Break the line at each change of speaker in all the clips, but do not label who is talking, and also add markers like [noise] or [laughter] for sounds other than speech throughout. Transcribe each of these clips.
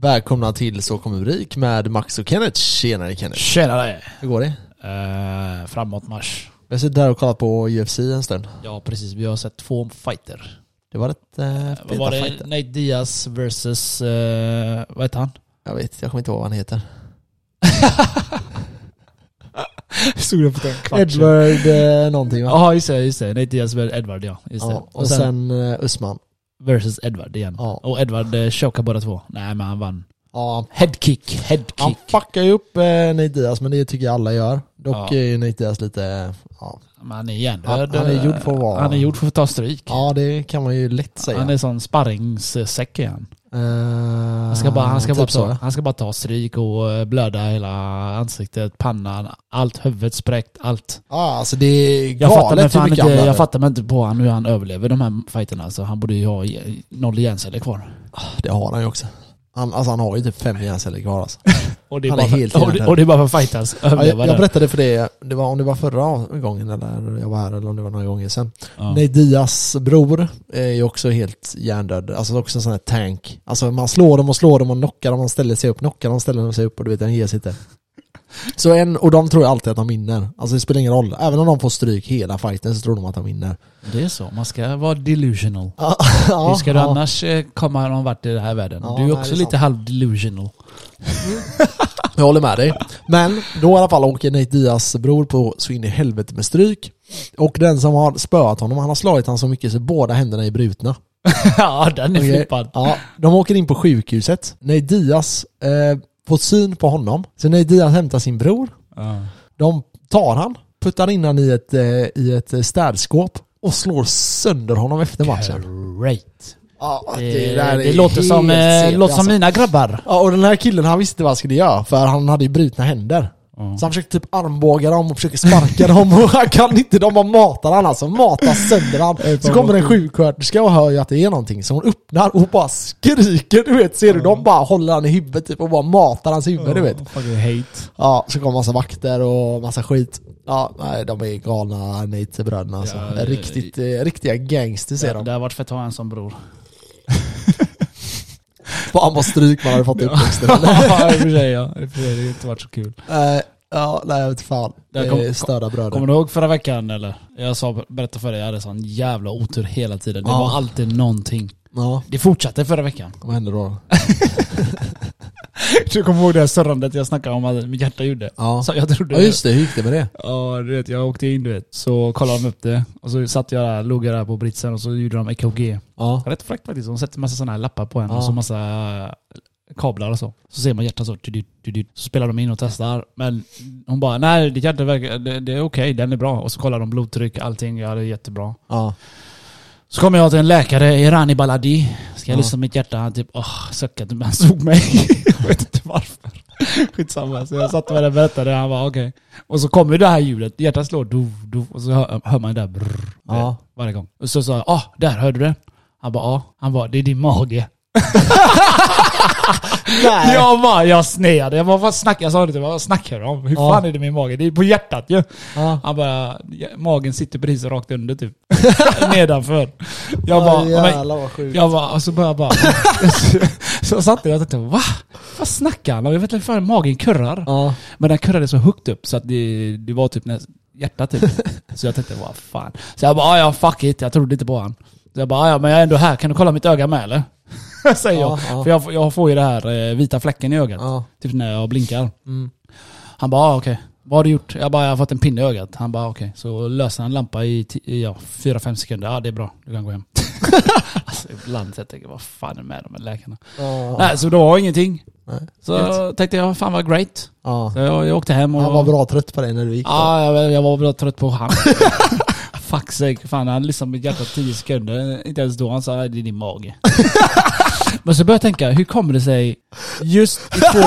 Välkomna till Så kommer Rubrik med Max och Kenneth. Tjenare Kenneth.
Tjenare!
Hur går det? Eh,
Uh, framåt marsch.
Vi har suttit där och kollat på UFC en stund.
Ja precis, vi har sett två fighter.
Det var rätt eh,
Vad
feta
var det?
fighter.
Nate Diaz versus, eh, vad
[laughs]
heter han?
Jag vet, jag kommer inte ihåg vad han heter.
Stod det på en
Edward [laughs] eh, någonting va?
Ja just det, just det. Nate Diaz versus Edward ja. Just det.
Ja, och, sen, eh, Usman.
versus Edward igen.
Ja.
Och Edward eh, chokade båda två. Nej men han vann.
Ja,
Headkick, headkick.
han fuckar ju upp eh, Nate Diaz, men det tycker jag alla gör. Dock
Ja.
är ju Nate Diaz lite... eh, Ja.
Men han är hjärndöd.
Han, han är gjord för att vara...
Han är gjord för att ta stryk.
Ja, det kan man ju lätt säga.
han är sån sparringssäck igen.
Eh,
Han ska bara, han ska
typ
bara,
så,
ta,
ja.
han ska bara ta stryk och eh, blöda hela ansiktet, pannan, allt, huvudet spräckt, allt.
Ja, alltså det är
Jag fattar, mig
galet hur
fan
mycket
inte,
han blöder.
jag fattar mig inte på han hur han överlever de här fighterna. Så han borde ju ha i- noll hjärnceller kvar.
Det har han ju också. Han, alltså han har ju typ fem hjärnceller kvar alltså.
Och det är,
Han
bara,
är helt
för, [laughs] och, det,
hjärndöd.
och det är bara för att fightas
Ja, jag,
överleva
jag
där.
berättade för dig, det var, om det var förra gången eller jag var här eller om det var några gånger sedan.
Ja.
Nej, Dias bror är ju också helt hjärndöd. Alltså också en sån här tank. Alltså man slår dem och slår dem och knockar dem, man ställer sig upp, knockar dem, ställer dem sig upp och du vet, han ger sig inte. Så en, och de tror ju alltid att de vinner. Alltså det spelar ingen roll. Även om de får stryk hela fighten så tror de att de vinner.
Det är så, man ska vara delusional.
Ja,
[laughs] Hur ska du
ja.
annars eh, komma någon vart i den här världen?
Ja,
du är
nej,
också
det är
lite
sant. [laughs]
halv delusional.
Jag håller med dig. Men då i alla fall åker Nate Diaz bror på så in i helvete med stryk. Och den som har spöat honom, han har slagit honom så mycket så båda händerna är brutna.
ja, den är
Okej.
flippad.
Ja, de åker in på sjukhuset. Nate Diaz eh, får syn på honom. Så Nate Diaz hämtar sin bror.
Ja.
De tar han, puttar in han i ett, eh, i ett städskåp och slår sönder honom efter matchen.
Great.
Ja,
Det,
där
det,
är
låter
helt
som, eh,
sent,
låter som
alltså.
mina grabbar.
Ja, och den här killen han visste vad han skulle göra för han hade ju brutna händer. Så han försöker typ armbåga dem och försöker sparka [laughs] dem och han kan inte, de bara matar han alltså, matar sönder han. Så kommer en sjuksköterska och hör ju att det är någonting så hon öppnar och bara skriker du vet, ser du? De bara håller han i huvudet typ och bara matar hans huvud du vet.
Fucking hate.
Ja, så kommer massa vakter och massa skit. Ja, nej de är galna Nate-bröderna alltså.
Ja, det-
Riktigt, eh, riktiga gangsters är
Det,
de.
det har varit fett att ha en sån bror.
Fan vad stryk man hade fått i
[laughs]
uppväxten.
[laughs] ja, i och för sig. Ja. I och för sig, det har inte varit så kul.
Nej, Eh, ja, nej jag vet fan.
Där
Det
kom-
är störda bröder.
Kommer du ihåg förra veckan eller? Jag sa, berättade för dig, jag hade sån jävla otur hela tiden. Det
Ja.
var alltid någonting.
Ja,
Det fortsatte förra veckan.
vad händer då?
[laughs] Du kommer ihåg det här surrandet jag snackade om att mitt hjärta gjorde?
Ja.
[laughs] Så jag trodde...
ja just det, hur gick det med det?
Ja, du vet, jag åkte in du vet. Så kollade de upp det. Och så satt jag där, låg jag där på britsen och så gjorde de E EKG.
Ja.
Rätt fräckt faktiskt. De sätter massa sådana här lappar på en
Ja.
och så massa kablar och så. Så ser man hjärtat så. tudut, tudut. Så spelar de in och testar. Men hon bara, nej ditt hjärta verkar, det, det är okej, den är bra. Och så kollar de blodtryck, allting, ja det är jättebra.
Ja.
Så kommer jag till en läkare, Irani Baladi. Ska jag
Ja.
lyssna på mitt hjärta? Han typ, åh, suckade, men han såg mig. [laughs] jag vet inte varför. Skitsamma. Så jag satt med den och berättade, han bara okej. Och så kommer det här ljudet, hjärtat slår, dov, dov, och så hör, hör man det där brrr,
Ja.
varje gång. Och så sa jag, ah, där hörde du det? Han bara, ja. Han bara, det är din mage.
Nej.
Jag bara, jag sneade. Jag bara, vad snackar jag sa det till honom, vad snackar du om? Hur
Ja.
fan är det min mage? Det är på hjärtat ju.
Ja.
Han bara, "Ja, magen sitter precis rakt under typ. [laughs] Nedanför. Jag bara,
Ja,
"Men-
jävlar vad sjukt.
jag bara, och så började jag bara... [laughs] så jag satt där och tänkte va? Vad snackar han om? Jag vet inte hur fan magen kurrar.
Ja.
Men den kurrade så högt upp så att det, det var typ näst,
[laughs]
hjärtat typ. så jag tänkte vad fan. Så jag bara, "Ah, ja fuck it, jag trodde inte på han. Så jag bara, "Ah, ja men jag är ändå här, kan du kolla mitt öga med eller? [laughs] Säger
Ja,
jag.
ja.
För jag, får- jag får ju det här eh, vita fläcken i ögat.
Ja.
Typ när jag blinkar.
Mm.
Han bara, ah, okej. Vad har du gjort? Jag bara, jag har fått en pinne i ögat. Han bara, okej. Så löser han en lampa i ti- i, ja, 4-5 sekunder. Ja, det är bra. Du kan
[laughs]
gå hem. alltså ibland så jag tänker vad fan är med de här läkarna?
Ja.
Nej, så då var ingenting.
Nej.
Så tänkte jag, fan vad great.
Ja.
Så jag, jag åkte hem och...
Han var bra trött på dig när du gick. då.
Ja, jag, jag var bra trött på han. [laughs] Fuck sake. Fan, han lyssnade på mitt hjärta 10 sekunder. Inte ens då. Han sa, "Nej, det är din [laughs] mage. Men så började jag tänka, hur kommer det sig just i två,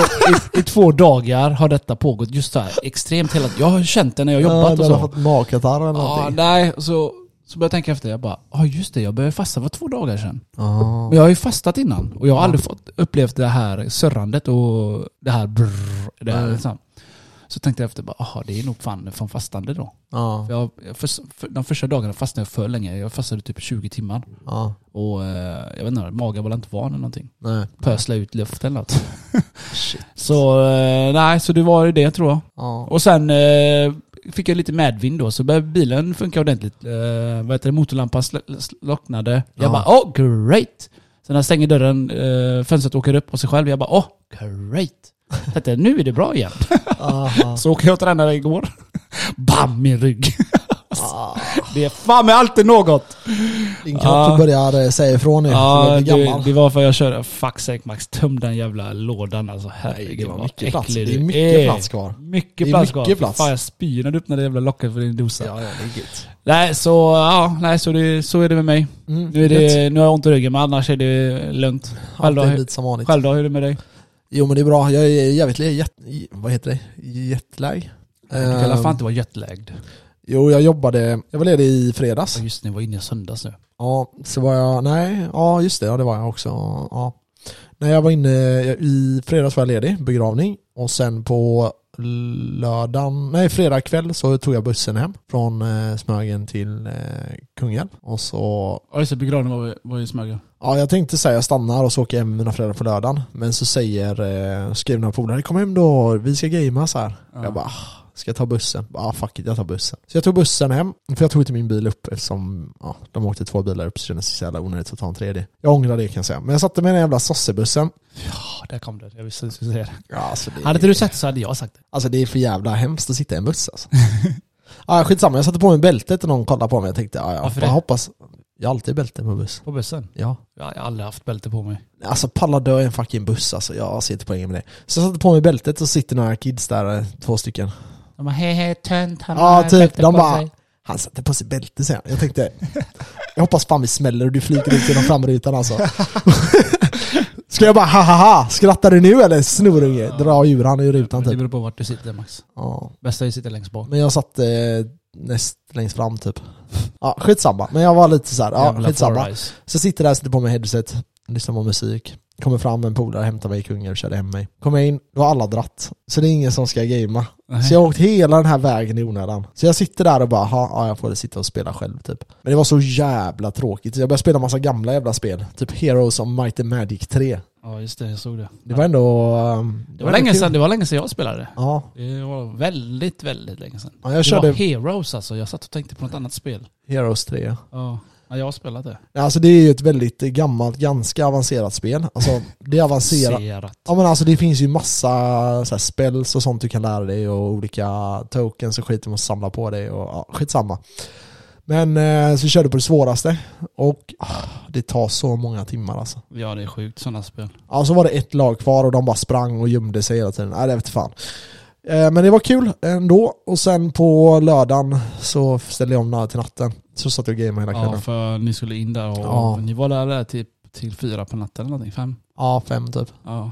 i, i två dagar har detta pågått just så här extremt hela Jag har känt det när jag har
Ja,
jobbat
du
och
hade
så.
fått magkatarr eller
Ja,
någonting.
nej, och så, så började jag tänka efter. Jag bara, ja just det, jag började fasta för två dagar sedan.
Ja.
Men jag har ju fastat innan och jag har aldrig fått upplevt det här surrandet och det här brrr, det här
Nej.
liksom. Så tänkte jag efter, bara, aha, det är nog fan från fastande då.
Ja.
För Jag, jag först, för, de första dagarna fastnade jag för länge. Jag fastnade typ 20 timmar.
Ja.
Och eh, jag vet inte, magen var inte van eller någonting.
Nej.
Pösla ut luft eller något. Så eh, nej, så det var ju det tror jag.
Ja.
Och sen eh, fick jag lite medvind då, så började bilen funka ordentligt. Eh, vad heter det, motorlampan sl- sl- slocknade. Jag
Ja.
bara oh great! Sen när jag stänger dörren, eh, fönstret åker upp på sig själv. Jag bara oh great! Tänkte, nu är det bra igen.
Aha.
Så åker jag och tränade igår. [laughs] Bam! Min rygg.
Ah,
Det är fan med alltid något!
Din kropp
Ja.
börjar eh, säga ifrån nu.
Ja,
du börjar bli
det,
gammal.
det var för jag körde. Fuck sake Max, töm den jävla lådan alltså. Herregud
det var
vad
mycket plats.
äcklig
Det är
du
mycket plats kvar. Det
Mycket
är
plats
mycket
kvar. Fy
plats.
Fan jag spyr när du öppnar det jävla locket för din dosa.
ja, det är gött.
Nej, så, ja, nej, så, det, så är det med mig.
Mm,
Nu, är
gött.
det, nu har jag ont i ryggen men annars är det lugnt. Själv då,
Alltid en
hur,
bit som vanligt.
själv då hur är det med dig?
Jo men det är bra, jag är jävligt jet, vad heter det? Jetlag?
Du kan
Ehm,
fan inte vara jetlagged.
Jo jag jobbade, jag var ledig i fredags.
Ja, Just nu var inne i söndags nu.
Ja, så var jag, nej, ja just det, ja det var jag också. Ja. Nej jag var inne, i fredags var jag ledig, begravning. Och sen på lördagen, nej fredag kväll så tog jag bussen hem från eh, Smögen till eh, Kungälv. Och så,
Ja just det, begravningen var, var i Smögen.
ja jag tänkte säga jag stannar och så åker jag hem med mina föräldrar på lördagen. Men så säger, eh, skriver några polare, kom hem då, vi ska gamea så här. Jag bara, "Ah, ska jag ta bussen? Ja, ah, fuck it, jag tar bussen. Så jag tog bussen hem, för jag tog inte min bil upp eftersom ja, de åkte två bilar upp så det kändes så jävla onödigt att ta en tredje. Jag ångrar det kan jag säga. Men jag satte mig i den jävla sossebussen.
Ja, där kom det. Jag visste att du skulle säga det.
Ja, alltså, det,
Hade inte du sett det så hade jag sagt det.
alltså det är för jävla hemskt att sitta i en buss alltså. [laughs] ah, skitsamma, jag satte på mig bältet och någon kollade på mig. Jag tänkte, ah, ja,
Varför
jag
det?
hoppas. Jag har alltid bälte på buss.
På bussen?
Ja.
Jag har aldrig haft bälte på mig.
Alltså pallar dö i en fucking buss alltså. Jag ser inte poängen med det. Så jag satte på mig bältet och sitter några kids där, eh, två stycken.
De bara hej hej tönt, han
Ja,
har
typ.
bälte
De
på
bara-
sig."
Han satte på sig bälte sen. Jag tänkte, jag hoppas fan vi smäller och du flyger ut genom framrutan
[laughs]
alltså. Ska jag bara ha ha ha, skrattar du nu eller snorunge? Dra ur han ur rutan
Det
typ.
beror på vart du sitter Max.
Ja.
Bästa är att sitta längst bak.
Men jag satt eh, näst längst fram typ. Ja, skitsamma. Men jag var lite så här, ja
Jävla
skitsamma.
four eyes.
Så jag sitter där, sätter på mig headset, lyssnar på musik. Kommer fram en polare, hämtar mig i Kungälv, körde hem mig. Kommer jag in, då har alla dratt. Så det är ingen som ska gamea. Så jag har åkt hela den här vägen i onödan. Så jag sitter där och bara, "Ha, ja jag får sitta och spela själv typ. Men det var så jävla tråkigt. Så Jag började spela massa gamla jävla spel. Typ Heroes of Might and Magic 3.
Ja just det, jag såg det.
Det var ändå... ehm,
Det var, länge
kul.
sedan, det var länge sedan jag spelade.
Ja.
Det var väldigt, väldigt länge sedan.
ja, jag
det var
körde
Heroes alltså, jag satt och tänkte på något annat spel.
Heroes 3.
Ja, Ja, jag har spelat det.
Ja, Alltså det är ju ett väldigt gammalt, ganska avancerat spel. Alltså det är avancerat.
Serat.
Ja men alltså det finns ju massa så här, spells och sånt du kan lära dig och olika tokens och skit du måste samla på dig och ja, skitsamma. Men eh, så vi körde på det svåraste och ah, det tar så många timmar alltså.
Ja det är sjukt sådana spel.
Ja så var det ett lag kvar och de bara sprang och gömde sig hela tiden. Nej det vete fan. Eh, men det var kul ändå och sen på lördagen så ställde jag om na- till natten. Så satt jag och gameade hela
Ja
kvällen.
för ni skulle in där och
Ja.
ni var där, där till, till fyra på natten eller någonting, fem.
Ja, fem typ.
Ja.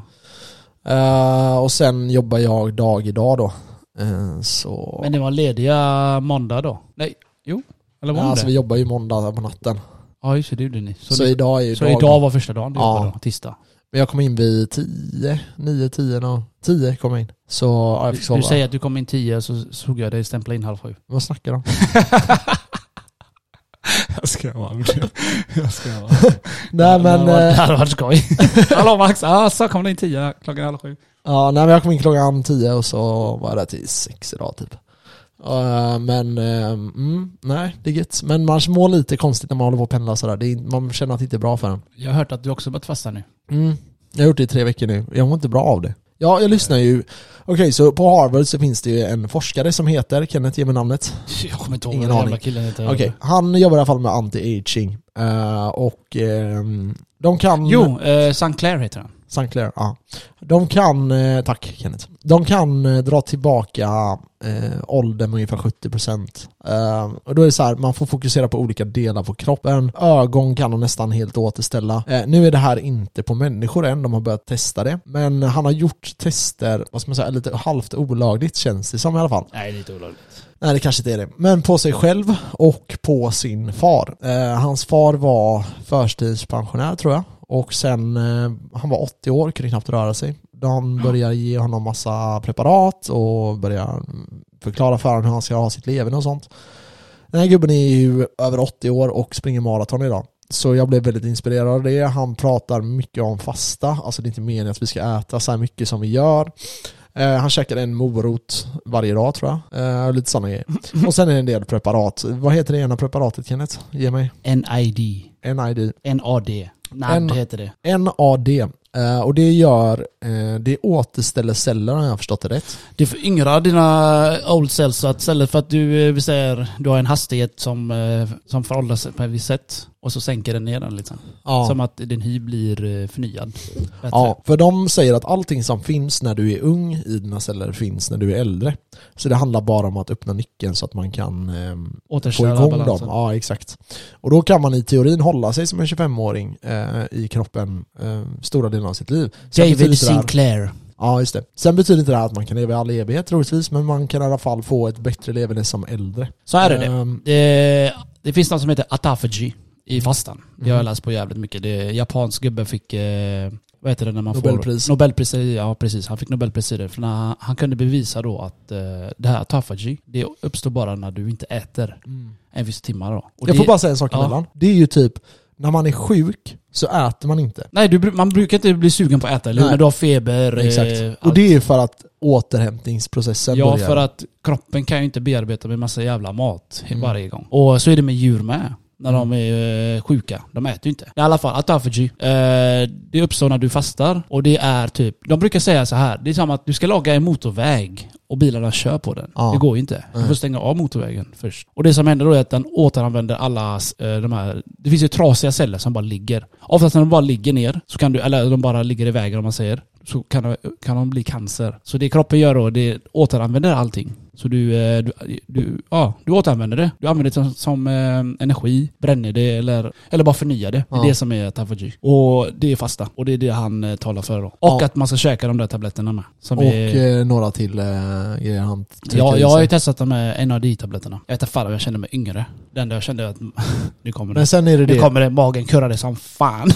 Eh, och sen jobbar jag dag idag då. Eh, så...
Men ni var lediga måndag då? Nej, jo. Eller var
Ja,
ni
alltså
det?
vi jobbar ju måndag på natten.
Ja just det, det gjorde ni. Så,
Så,
ni,
idag är ju
så
dag.
idag var första dagen du
Ja.
jobbade då, tisdag.
Men jag kom in vid 10, 9, 10 nå. 10 kom jag in. Så ja, jag fick
Du,
sova.
du säger att du kom in tio så såg jag dig stämpla in halv
[laughs]
sju.
Vad snackar
[laughs]
du om?
Jag ska vara
[laughs]
Jag ska vara [laughs]
nej men...
Det hade varit-
eh,
det hade varit skoj. [laughs] Hallå [laughs] Max, ah, så kom det in tio klockan halv sju.
Ja, nej men jag kom in klockan 10 och så var jag där till 6 idag typ. Eh, men, eh, mm, nej det är gött. Men man mår lite konstigt när man håller på och pendlar sådär. Det är, inte- man känner att det inte är bra för en.
Jag har hört att du också börjat fasta nu.
Mm. Jag har gjort det i tre veckor nu. Jag mår inte bra av det. Ja, jag lyssnar ju. Okej, så på Harvard så finns det ju en forskare som heter, Kenneth ger mig namnet.
[laughs] Jag kommer inte ihåg
Ingen
vad den
aning.
jävla killen heter.
Okej, han jobbar i alla fall med anti-aging. Eh, och ehm, de kan...
Jo, eh, St. Clair heter han.
St. Clair, ja. De kan, eh, tack Kenneth. De kan eh, dra tillbaka eh, åldern med ungefär 70%. Eh, och då är det så här, man får fokusera på olika delar på kroppen. Ögon kan de nästan helt återställa. Eh, nu är det här inte på människor än, de har börjat testa det. Men han har gjort tester, vad ska man säga, lite halvt olagligt känns det som i alla fall.
Nej, det är inte olagligt.
Nej, det kanske inte är det. Men på sig själv och på sin far. Eh, hans far var förtidspensionär tror jag. Och sen, eh, han var 80 år, kunde knappt röra sig. De börjar ge honom massa preparat och börjar förklara för honom hur han ska ha sitt leverne och sånt. Den här gubben är ju över 80 år och springer maraton idag. Så jag blev väldigt inspirerad av det. Han pratar mycket om fasta, alltså det är inte meningen att vi ska äta så här mycket som vi gör. Eh, han käkar en morot varje dag tror jag. Eh, och lite sådana
[laughs]
grejer. Och sen är det en del preparat. Vad heter det ena preparatet Kenneth? Ge mig.
NID.
NID.
NAD. NAD
N-
heter det.
NAD. Eh, och det gör, eh, det återställer celler om jag har förstått det rätt.
Det föryngrar dina eh, old cells så att istället för att du, eh, vi säger, du har en hastighet som, eh, som föråldras på ett visst sätt och så sänker den ner den liksom.
Ja.
Som att din hy blir eh, förnyad. Bättre.
Ja, för de säger att allting som finns när du är ung i dina celler finns när du är äldre. Så det handlar bara om att öppna nyckeln så att man kan ehm, få
Återställa
igång dem.
balansen.
Ja, exakt. Och då kan man i teorin hålla sig som en 25-åring eh, i kroppen eh, stora delen av sitt liv. Sen betyder
David
inte det här-
Sinclair.
Ja, just det. Sen betyder inte det här att man kan leva i all evighet troligtvis, men man kan i alla fall få ett bättre leverne som äldre.
Så här är det.
Ehm,
Eh, Det, det finns något som heter atafagi i fastan. Det
Mhm.
har jag läst på jävligt mycket. Det, japansk gubbe fick, eh, vad heter det när man
Nobelpris.
får... Nobelpris. Ja precis, han fick Nobelpris i det. För när han, han kunde bevisa då att eh, det här atafagi, det uppstår bara när du inte äter en viss timme då. Mm. Och
jag
det,
får bara säga en sak
ja.
emellan. Det är ju typ, när man är sjuk så äter man inte.
Nej, du, bru- man brukar inte bli sugen på att äta, eller hur?
Nej.
När du har feber. eh,
Exakt. Och
allt.
det är ju för att återhämtningsprocessen
Ja,
börjar.
för att kroppen kan ju inte bearbeta med massa jävla mat
Mm.
varje gång. Och så är det med djur med. När de är eh, sjuka. De äter ju inte. I alla fall, autophagy. Eh, det uppstår när du fastar. Och det är typ... De brukar säga så här. Det är som att du ska laga en motorväg och bilarna kör på den.
Ja.
Det går ju inte. Du får stänga av motorvägen först. Och det som händer då är att den återanvänder alla eh, de här... Det finns ju trasiga celler som bara ligger. Oftast när de bara ligger ner, så kan du, eller de bara ligger i vägen om man säger, så kan de, kan de bli cancer. Så det kroppen gör då, det återanvänder allting. Så du, eh, du, du, ja, du återanvänder det. Du använder det som, som eh, energi, bränner det eller, eller bara förnyar det. Det är
Ja.
det som är tafaji. Och det är fasta. Och det är det han eh, talar för då. Och
Ja.
att man ska käka de där tabletterna med. Som
Och
är,
eh, några till eh, grejer han trycker
Ja,
i
jag har
sig.
ju testat de här NAD-tabletterna. Jag vet inte fan om jag kände mig yngre. Det enda jag kände att [laughs] nu kommer det.
Men sen är det
Nu
det.
kommer det, magen kurrade
[laughs]
som fan.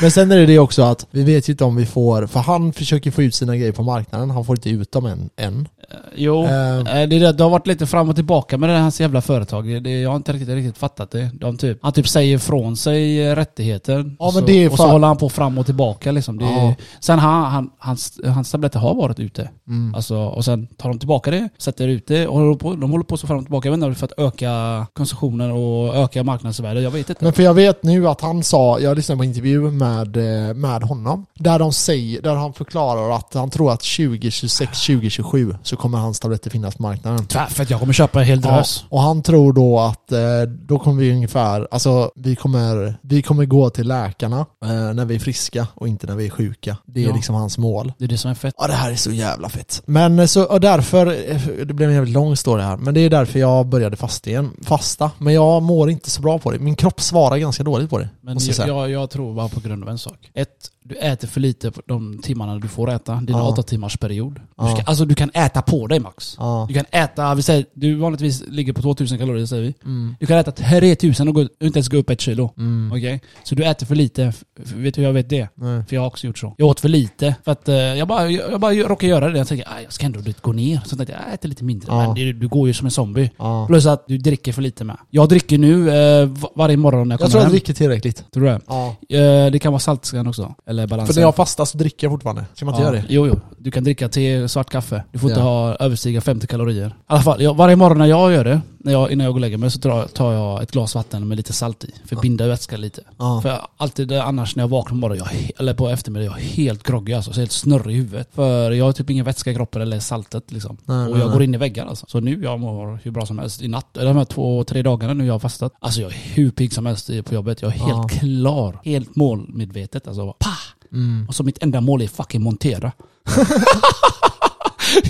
Men sen är det det också att vi vet ju inte om vi får, för han försöker få ut sina grejer på marknaden, han får inte ut dem än. än.
jo,
Eh.
eh, det, är det, det har varit lite fram och tillbaka med det här hans jävla företag. Det, det, jag har inte riktigt, riktigt fattat det. De typ, han typ säger ifrån sig eh, rättigheter.
Ja, men
så,
det är
och så
fan-
håller han på fram och tillbaka liksom. Det,
Ja.
Sen han, han, hans, hans tabletter har varit ute.
Mm.
Alltså, och sen tar de tillbaka det, sätter ut det och håller på, de håller på så fram och tillbaka. Jag vet inte om det är för att öka konsumtionen och öka marknadsvärdet. Jag vet inte.
Men för jag vet nu att han sa, jag lyssnade på en intervju med, eh, med honom, där, de säger, där han förklarar att han tror att 2026, 2027 så kommer hans tabletter finnas på marknaden.
Tvär, för att jag kommer köpa en hel
Ja,
drös.
och han tror då att eh, då kommer vi ungefär, alltså vi kommer, vi kommer gå till läkarna eh, när vi är friska och inte när vi är sjuka. Det är
Ja.
liksom hans mål.
Det är det som är fett.
Ja det här är så jävla fett. Men eh, så, och därför, eh, det blev en jävligt lång story här, men det är därför jag började fasta igen. Fasta, men jag mår inte så bra på det. Min kropp svarar ganska dåligt på det.
Men
måste jag
jag,
säga.
jag, jag tror bara på grund av en sak. Ett, du äter för lite på de timmarna du får äta. Dina
Ja.
åtta timmars period. Du
Ja.
ska, alltså du kan äta på dig max.
Ja.
Du kan äta, vi säger, du vanligtvis ligger på 2000 kalorier säger vi.
Mm.
Du kan äta 3000 och gå, inte ens gå upp ett kilo.
Mm.
Okej? Så du äter för lite. F- Vet du hur jag vet det?
Nej.
För jag har också gjort så. Jag åt för lite. För att eh, jag bara, jag, jag bara råkade göra det. Jag tänkte, "Ah, jag ska ändå dit gå ner. Så tänkte jag, jag äter lite mindre.
Ja.
Men det, du går ju som en zombie.
Ja.
Plus att du dricker för lite med. Jag dricker nu eh, va- varje morgon när
Jag
jag kommer
tror jag
hem.
dricker tillräckligt.
Tror du det?
Ja.
Eh, det kan vara saltskan också. Eller balansen.
För när jag fastar så dricker jag fortfarande. Ska man inte göra det?
Jo, jo. Du kan dricka te, svart kaffe. Du får
Ja.
inte ha, överstiga 50 kalorier. I alla fall, jag, varje morgon när jag gör det, när jag, innan jag går och lägger mig, så tar, tar jag ett glas vatten med lite salt i. För att binda vätska lite.
Ja.
För jag, alltid eh, annars när jag vaknar på morgonen, jag, he- eller på eftermiddagen, jag är helt groggy alltså. Så helt snurrig i huvudet. För jag har typ ingen vätska i kroppen eller saltet liksom.
Nej,
och
nej,
jag
nej.
går in i väggar alltså. Så nu jag mår hur bra som helst. I natt, eller de här två, tre dagarna nu jag har fastat. Alltså jag är hur pigg som helst i- på jobbet. Jag är helt
Ja.
klar. Helt målmedvetet alltså. Pah!
Mm.
Och så mitt enda mål är
[laughs]
fucking montera.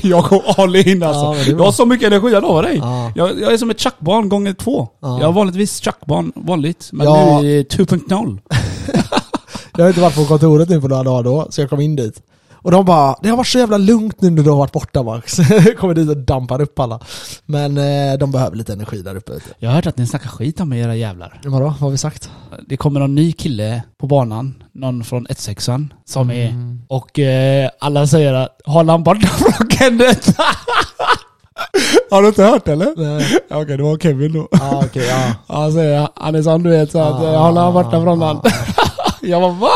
jag går all in alltså.
Ja, men det är
jag
bra.
har så mycket energi, jag lovar dig.
Ja.
Jag, jag är som ett tjackbarn gånger två.
Ja.
Jag är vanligtvis tjackbarn, vanligt. Men
Ja.
nu är det 2.0.
Jag har inte varit på kontoret nu på några dagar då, så jag kom in dit. Och de bara, det har varit så jävla lugnt nu när du har varit borta Max. [laughs] Kommer dit och dampar upp alla. Men eh, de behöver lite energi där uppe. Vet
Jag har hört att ni snackar skit om era jävlar.
du. Vadå, vad har vi [laughs] sagt?
Det kommer någon ny kille på banan, någon från 16 an som är... Och eh, alla säger att håll han borta från Kenneth. [laughs]
Har du inte hört eller?
Nej.
Ja, Okej, det var Kevin då.
Ah, okej, Eh, ja.
Han säger, han är sån du vet, så att ah, håller han borta från han. [laughs] Jag bara va?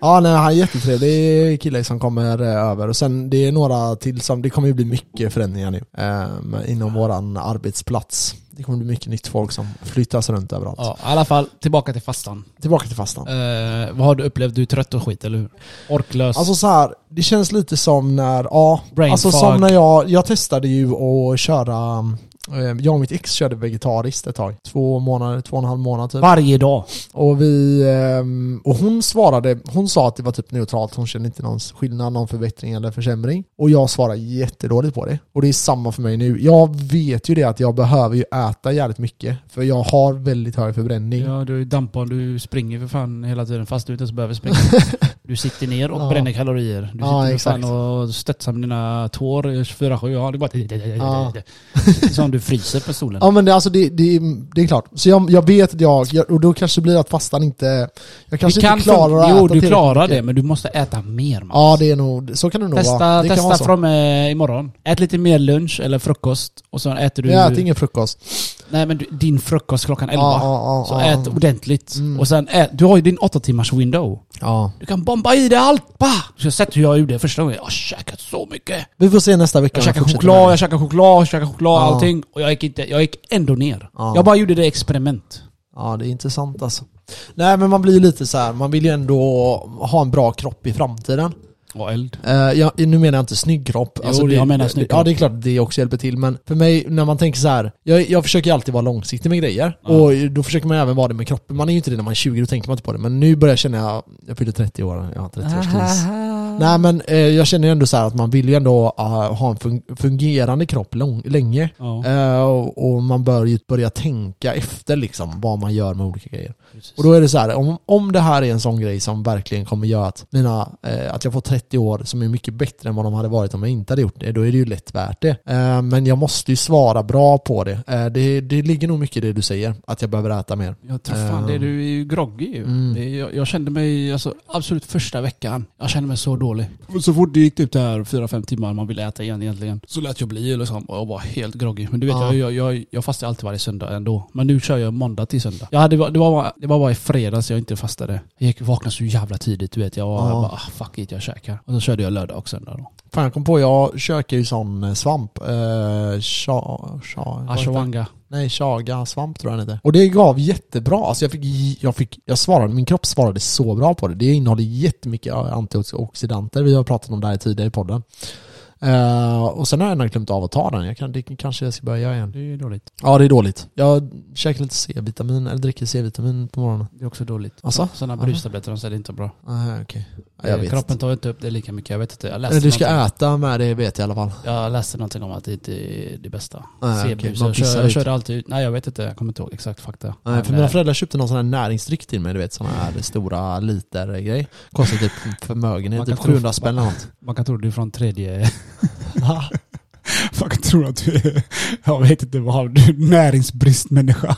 Ja, nej, han är jättetrevlig. Det är killar som kommer eh, över. Och sen det är några till som, det kommer ju bli mycket förändringar nu. ehm, inom våran arbetsplats. Det kommer bli mycket nytt folk som flyttas runt överallt.
Ja, i alla fall tillbaka till fastan.
Tillbaka till fastan.
Eh, vad har du upplevt? Du är trött och skit, eller hur? Orklös.
Alltså så här, det känns lite som när, ja,
Brain
alltså
fog.
som när jag, jag testade ju att köra, eh, jag och mitt ex körde vegetariskt ett tag. Två månader, två och en halv månad typ.
Varje dag.
Och vi, ehm, och hon svarade, hon sa att det var typ neutralt, hon kände inte någon skillnad, någon förbättring eller försämring. Och jag svarade jättedåligt på det. Och det är samma för mig nu. Jag vet ju det att jag behöver ju äta jävligt mycket, för jag har väldigt hög förbränning.
Ja, du är dampbarn. Du springer för fan hela tiden fast du inte ens
[laughs]
behöver springa. Du sitter ner och
Ja.
bränner kalorier. Du sitter
Ja,
för
exakt.
fan och stötsar med dina tår 24-7. Ja, det är bara...
Ja.
Det är Som du fryser på solen.
Ja men det, alltså det, det, det är klart. Så jag, jag vet att jag, jag, och då kanske det blir att fastan inte, jag kanske
Du kan
inte klarar
fun-
att
Jo,
äta
du
tillräckligt
klarar
mycket.
det, men du måste äta mer man.
Ja det är nog, så kan det nog vara.
Testa,
Det kan
testa
vara så.
från eh, imorgon. Ät lite mer lunch eller frukost och sen äter du...
Jag äter ingen frukost.
Nej men du, din frukost klockan 11.
Ja, ja, ja,
så
ja.
ät ordentligt.
Mm.
Och sen ät, du har ju din 8 timmars window.
Ja.
Du kan bomba i dig allt! Bah! Så jag har sett hur jag gjorde första gången. Jag har käkat så mycket.
Vi får se nästa vecka.
Jag
om jag
käkade
fortsätter
choklad,
med
jag käkade choklad, jag käkade choklad,
Ja.
allting. Och jag gick, inte, jag gick ändå ner.
Ja.
Jag bara gjorde det experiment.
det. Ja det är intressant alltså. Nej men man blir ju lite så här. man vill ju ändå ha en bra kropp i framtiden.
Och eld.
Eh, jag, nu menar jag inte snygg kropp. Alltså,
Jo, jag menar snygg
det, Ja
kropp.
det är klart att det också hjälper till men för mig när man tänker så här. Jag, jag försöker ju alltid vara långsiktig med grejer.
Ja.
Och då försöker man även vara det med kroppen. Man är ju inte det när man är 20, då tänker man inte på det. Men nu börjar jag känna, jag, jag fyller 30 år, jag har 30-årskris. Nej men eh, jag känner ju ändå så här att man vill ju ändå ah, ha en fun- fungerande kropp lång, länge.
Ja,
Eh, och, och man bör ju börja tänka efter liksom vad man gör med olika grejer.
precis.
Och då är det så här, om, om det här är en sån grej som verkligen kommer göra att, mina, eh, att jag får 30 år som är mycket bättre än vad de hade varit om jag inte hade gjort det, då är det ju lätt värt det. Eh, men jag måste ju svara bra på det. Eh, det. Det ligger nog mycket i det du säger, att jag behöver äta mer.
Jag tror fan det, du är ju groggy ju.
Mm.
Det är- Jag, jag kände mig, alltså, absolut första veckan, jag kände mig så dålig. Så fort det gick typ det här 4-5 timmar man ville äta igen egentligen, så lät jag bli liksom, och jag var helt groggy. Men du vet,
Ja.
jag, jag, jag, jag fastar alltid varje söndag ändå. Men nu kör jag måndag till söndag. Jag hade, det, var, det var bara- det var bara i fredags jag inte fastade. Jag gick, vaknade så jävla tidigt, du vet. Jag var
Ja.
bara, ah, fuck it, jag käkar. Och så körde jag lördag och söndag då.
Fan jag kom på, jag köker ju sån eh, svamp. Eh, sha, sha, vad heter det?
Ashwanga.
Nej, chaga svamp tror jag den heter. Och det gav jättebra. Alltså jag fick, jag fick, jag svarade, min kropp svarade så bra på det. Det innehåller jättemycket antioxidanter. Vi har pratat om det här tidigare i podden. Eh, och sen har jag ändå glömt av att ta den. Jag kan, det kanske jag ska börja göra igen.
Det är dåligt.
Ja, det är dåligt. Jag käkar lite C-vitamin, eller dricker C-vitamin på morgonen.
Det är också dåligt.
Alltså?
Sådana
Aha.
brustabletter, de säger det är inte bra. Eh,
Nej, okej. Ja, jag vet
Kroppen
inte.
tar inte upp det lika mycket. Jag vet inte. Jag läste
Men Du ska
någonting.
äta med det vet jag i alla fall.
Jag läste någonting om att det inte är det bästa.
Nej,
Sebus.
okej. Man
jag,
pissar
kör, jag
ut.
körde alltid ut. Nej jag vet inte, jag kommer inte ihåg exakt fakta.
Nej, för
Men,
mina
eh,
föräldrar köpte någon sån här näringsdryck till mig, du vet sån här stora litergrej. Kostar [laughs] typ förmögenhet,
Man kan
typ
tro-
700 spänn eller något.
Man kan tro det är från [laughs] tredje...
Fan, jag tror att du är... Jag vet inte vad. Du är näringsbristmänniska.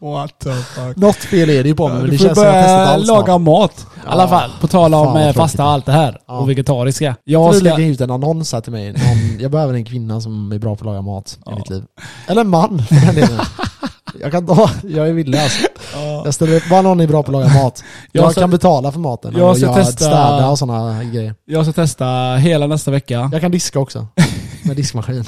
What the fuck.
Något fel är det ju på mig, men det
du får
känns som att jag
börja
testat allt
laga
snart.
mat.
I alla fall, på tal
Fan,
om
vad
eh,
tråkigt.
fasta och allt det här.
Ja.
Och vegetariska.
Jag
Jag
ska...
ska...
lägga ut en annons här till mig. Någon, jag behöver en kvinna som är bra på att laga mat i
Ja.
mitt liv. Eller en man, för den delen. Jag kan ta, jag är villig alltså. Jag ställer upp, bara någon är bra på att laga mat. Jag,
Jag ska-
kan betala för maten.
Jag
och
ska testa-
städa och sådana grejer.
Jag ska testa hela nästa vecka.
Jag kan diska
[laughs]
också. Med diskmaskin.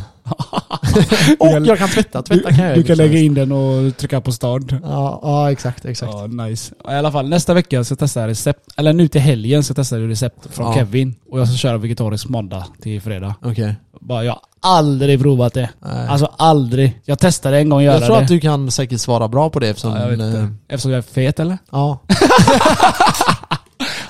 och
kan-
jag kan tvätta,
Du,
tvätta kan jag
du
ju
kan lägga
liksom.
in den och trycka på start.
Ja, ja, exakt, exakt.
Ja, nice. I alla fall, nästa vecka ska jag testa recept. Eller nu till helgen ska jag testa recept från
Ja.
Kevin. Och jag ska köra vegetariskt måndag till fredag.
Okej.
Bara, jag har aldrig provat det.
Nej.
Alltså aldrig. Jag testade en gång att göra
Jag tror
det.
att du kan säkert svara bra på det eftersom...
Ja, jag vet
eh,
inte. Eftersom jag är fet eller?
ja.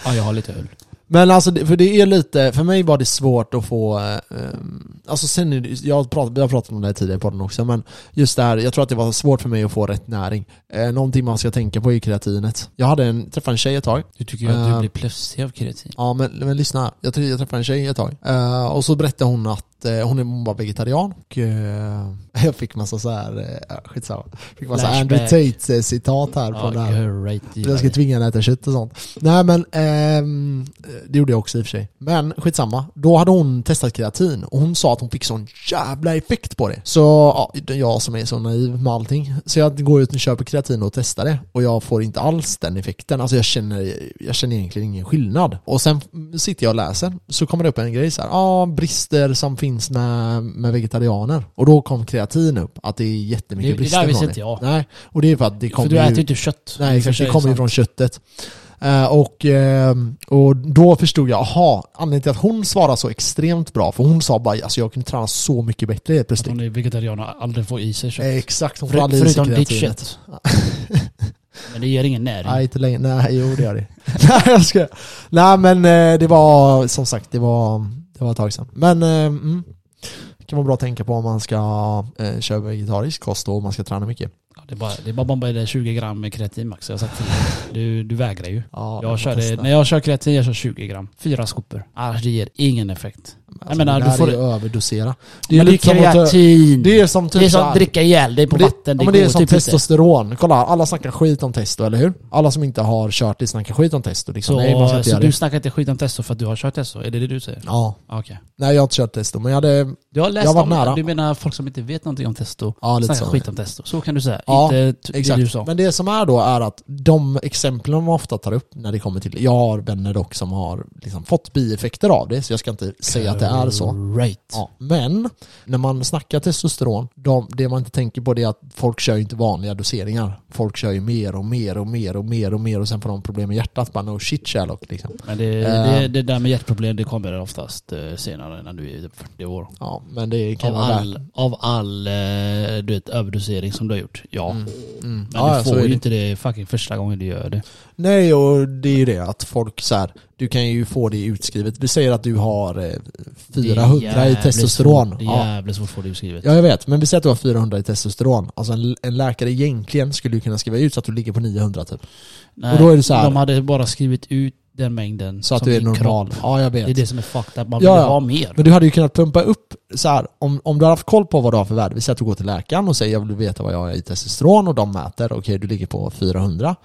Ja, jag har lite öl.
Men alltså, det- för det är lite, för mig var det svårt att få, eh, ehm, alltså sen är det, jag har pratat, vi har pratat om det här tidigare på den också, men just det här, jag tror att det var svårt för mig att få rätt näring. Eh, någonting man ska tänka på är kreatinet. Jag hade en, träffade en tjej ett tag,
Du tycker ju att
Eh.
du blir plötsig av kreatin.
Ja men, men lyssna, här. jag, tr- jag träffade en tjej ett tag Eh, och så berättade hon att eh, hon, är, hon var vegetarian och eh, [laughs] jag fick massa så här, eh, ja, skitsamma, fick massa
Flashback.
Andrew Tate eh, citat här från det här.
right,
Jag ska tvinga henne att äta kött och sånt. Nej men, ehm, det gjorde jag också i och för sig. Men skitsamma. Då hade hon testat kreatin och hon sa att hon fick sån jävla effekt på det. Så ja, det är jag som är så naiv med allting. Så jag går ut och köper kreatin och testar det och jag får inte alls den effekten. Alltså jag känner, jag känner egentligen ingen skillnad. Och sen sitter jag och läser så kommer det upp en grej så här, ja ah, brister som finns med, med vegetarianer. Och då kom kreatin upp, att det är jättemycket
Det- det
brister
där visste
från
inte jag.
Nej, och det är för att det kommer
För du
ju-
äter ju inte kött.
Nej,
I och för
exakt. Det
sig,
kommer ju
sant.
från köttet. Eh, och, eh, och då förstod jag, aha, anledningen till att hon svarade så extremt bra, för hon sa bara alltså jag kunde träna så mycket bättre helt
Att
plötsligt.
hon är vegetarian och aldrig får i sig kött.
Eh, Exakt, hon får
För,
aldrig i sig
förutom ditt
kreatinet.
kött. Men det ger ingen näring.
Nej, inte längre. Nej, jo det [laughs] gör det. Nej, jag skojar. Nej, men eh, det var som sagt, det var, det var ett tag sedan. Men eh, mm, det kan vara bra att tänka på om man ska eh, köra vegetarisk kost och om man ska träna mycket.
Ja, det, är bara, det är bara att bomba i dig 20 gram med kreatin max. Jag har sagt till dig. Du, du vägrar ju.
Ja,
Jag
man
kör
testar.
det, när jag kör kreatin, jag kör 20 gram. Fyra skopor. Annars det ger ingen effekt.
Alltså,
Jag menar,
det
du
där
får...
är ju överdosera.
Det är, men det är
lite som att-
kreatin.
Det är som typ
det är
så
som
här-
att dricka ihjäl dig på
Men det,
vatten.
ja,
Det,
men
går
det är som liksom.
typ inte.
testosteron. Kolla, alla snackar skit om testo, eller hur? Alla som inte har kört det snackar skit om testo. Liksom.
Så,
Nej, man ska inte
så
göra
du
det.
snackar inte skit om testo för att du har kört testo? Är det det du säger?
Ja.
Ja, Okej.
Nej, jag har inte kört testo, men jag hade...
Du har läst
Jag var
om
nära.
Du menar folk som inte vet någonting om testo?
Ja, lite
snackar
så.
skit om testo. Så kan du säga.
Ja,
inte t- det du sa.
Exakt. Men det som är då är att de exemplen man ofta tar upp när det kommer till... Jag har vänner dock som har liksom fått bieffekter av det, så jag ska inte säga att det är så.
Right.
Ja, men när man snackar testosteron, de, det man inte tänker på det är att folk kör ju inte vanliga doseringar. Folk kör ju mer och mer och mer och mer och mer och sen får de problem med hjärtat. Bara no shit Sherlock liksom.
Men det,
Eh.
det, det där med hjärtproblem det kommer oftast eh, senare när du är 40 år.
Ja, men det kan
Av
vara värt.
all, av all eh, du vet, överdosering som du har gjort. Ja.
Mm.
Men
Ja, ja,
du
så är
får ju
det.
inte det fucking första gången du gör det.
Nej, och det är ju det att folk så här, du kan ju få det utskrivet. Du säger att du har eh,
Det är
400 i
jävligt
testosteron.
svårt. Det är
Ja.
jävligt svårt att få det utskrivet.
ja, jag vet. Men vi säger att du har 400 i testosteron. Alltså en, en läkare egentligen skulle ju kunna skriva ut så att du ligger på 900 typ.
Nej,
och då är det så här-
De hade bara skrivit ut den mängden
Så att
som
du är
din kropp.
normal. Ja, jag vet.
Det är det som är fucked up. Man
Ja,
vill
ja.
ha mer.
Men du hade ju kunnat pumpa upp så här, om, om du hade haft koll på vad du har för värde. Vi säger att du går till läkaren och säger jag vill veta vad jag har i testosteron och de mäter. Okej, du ligger på 400.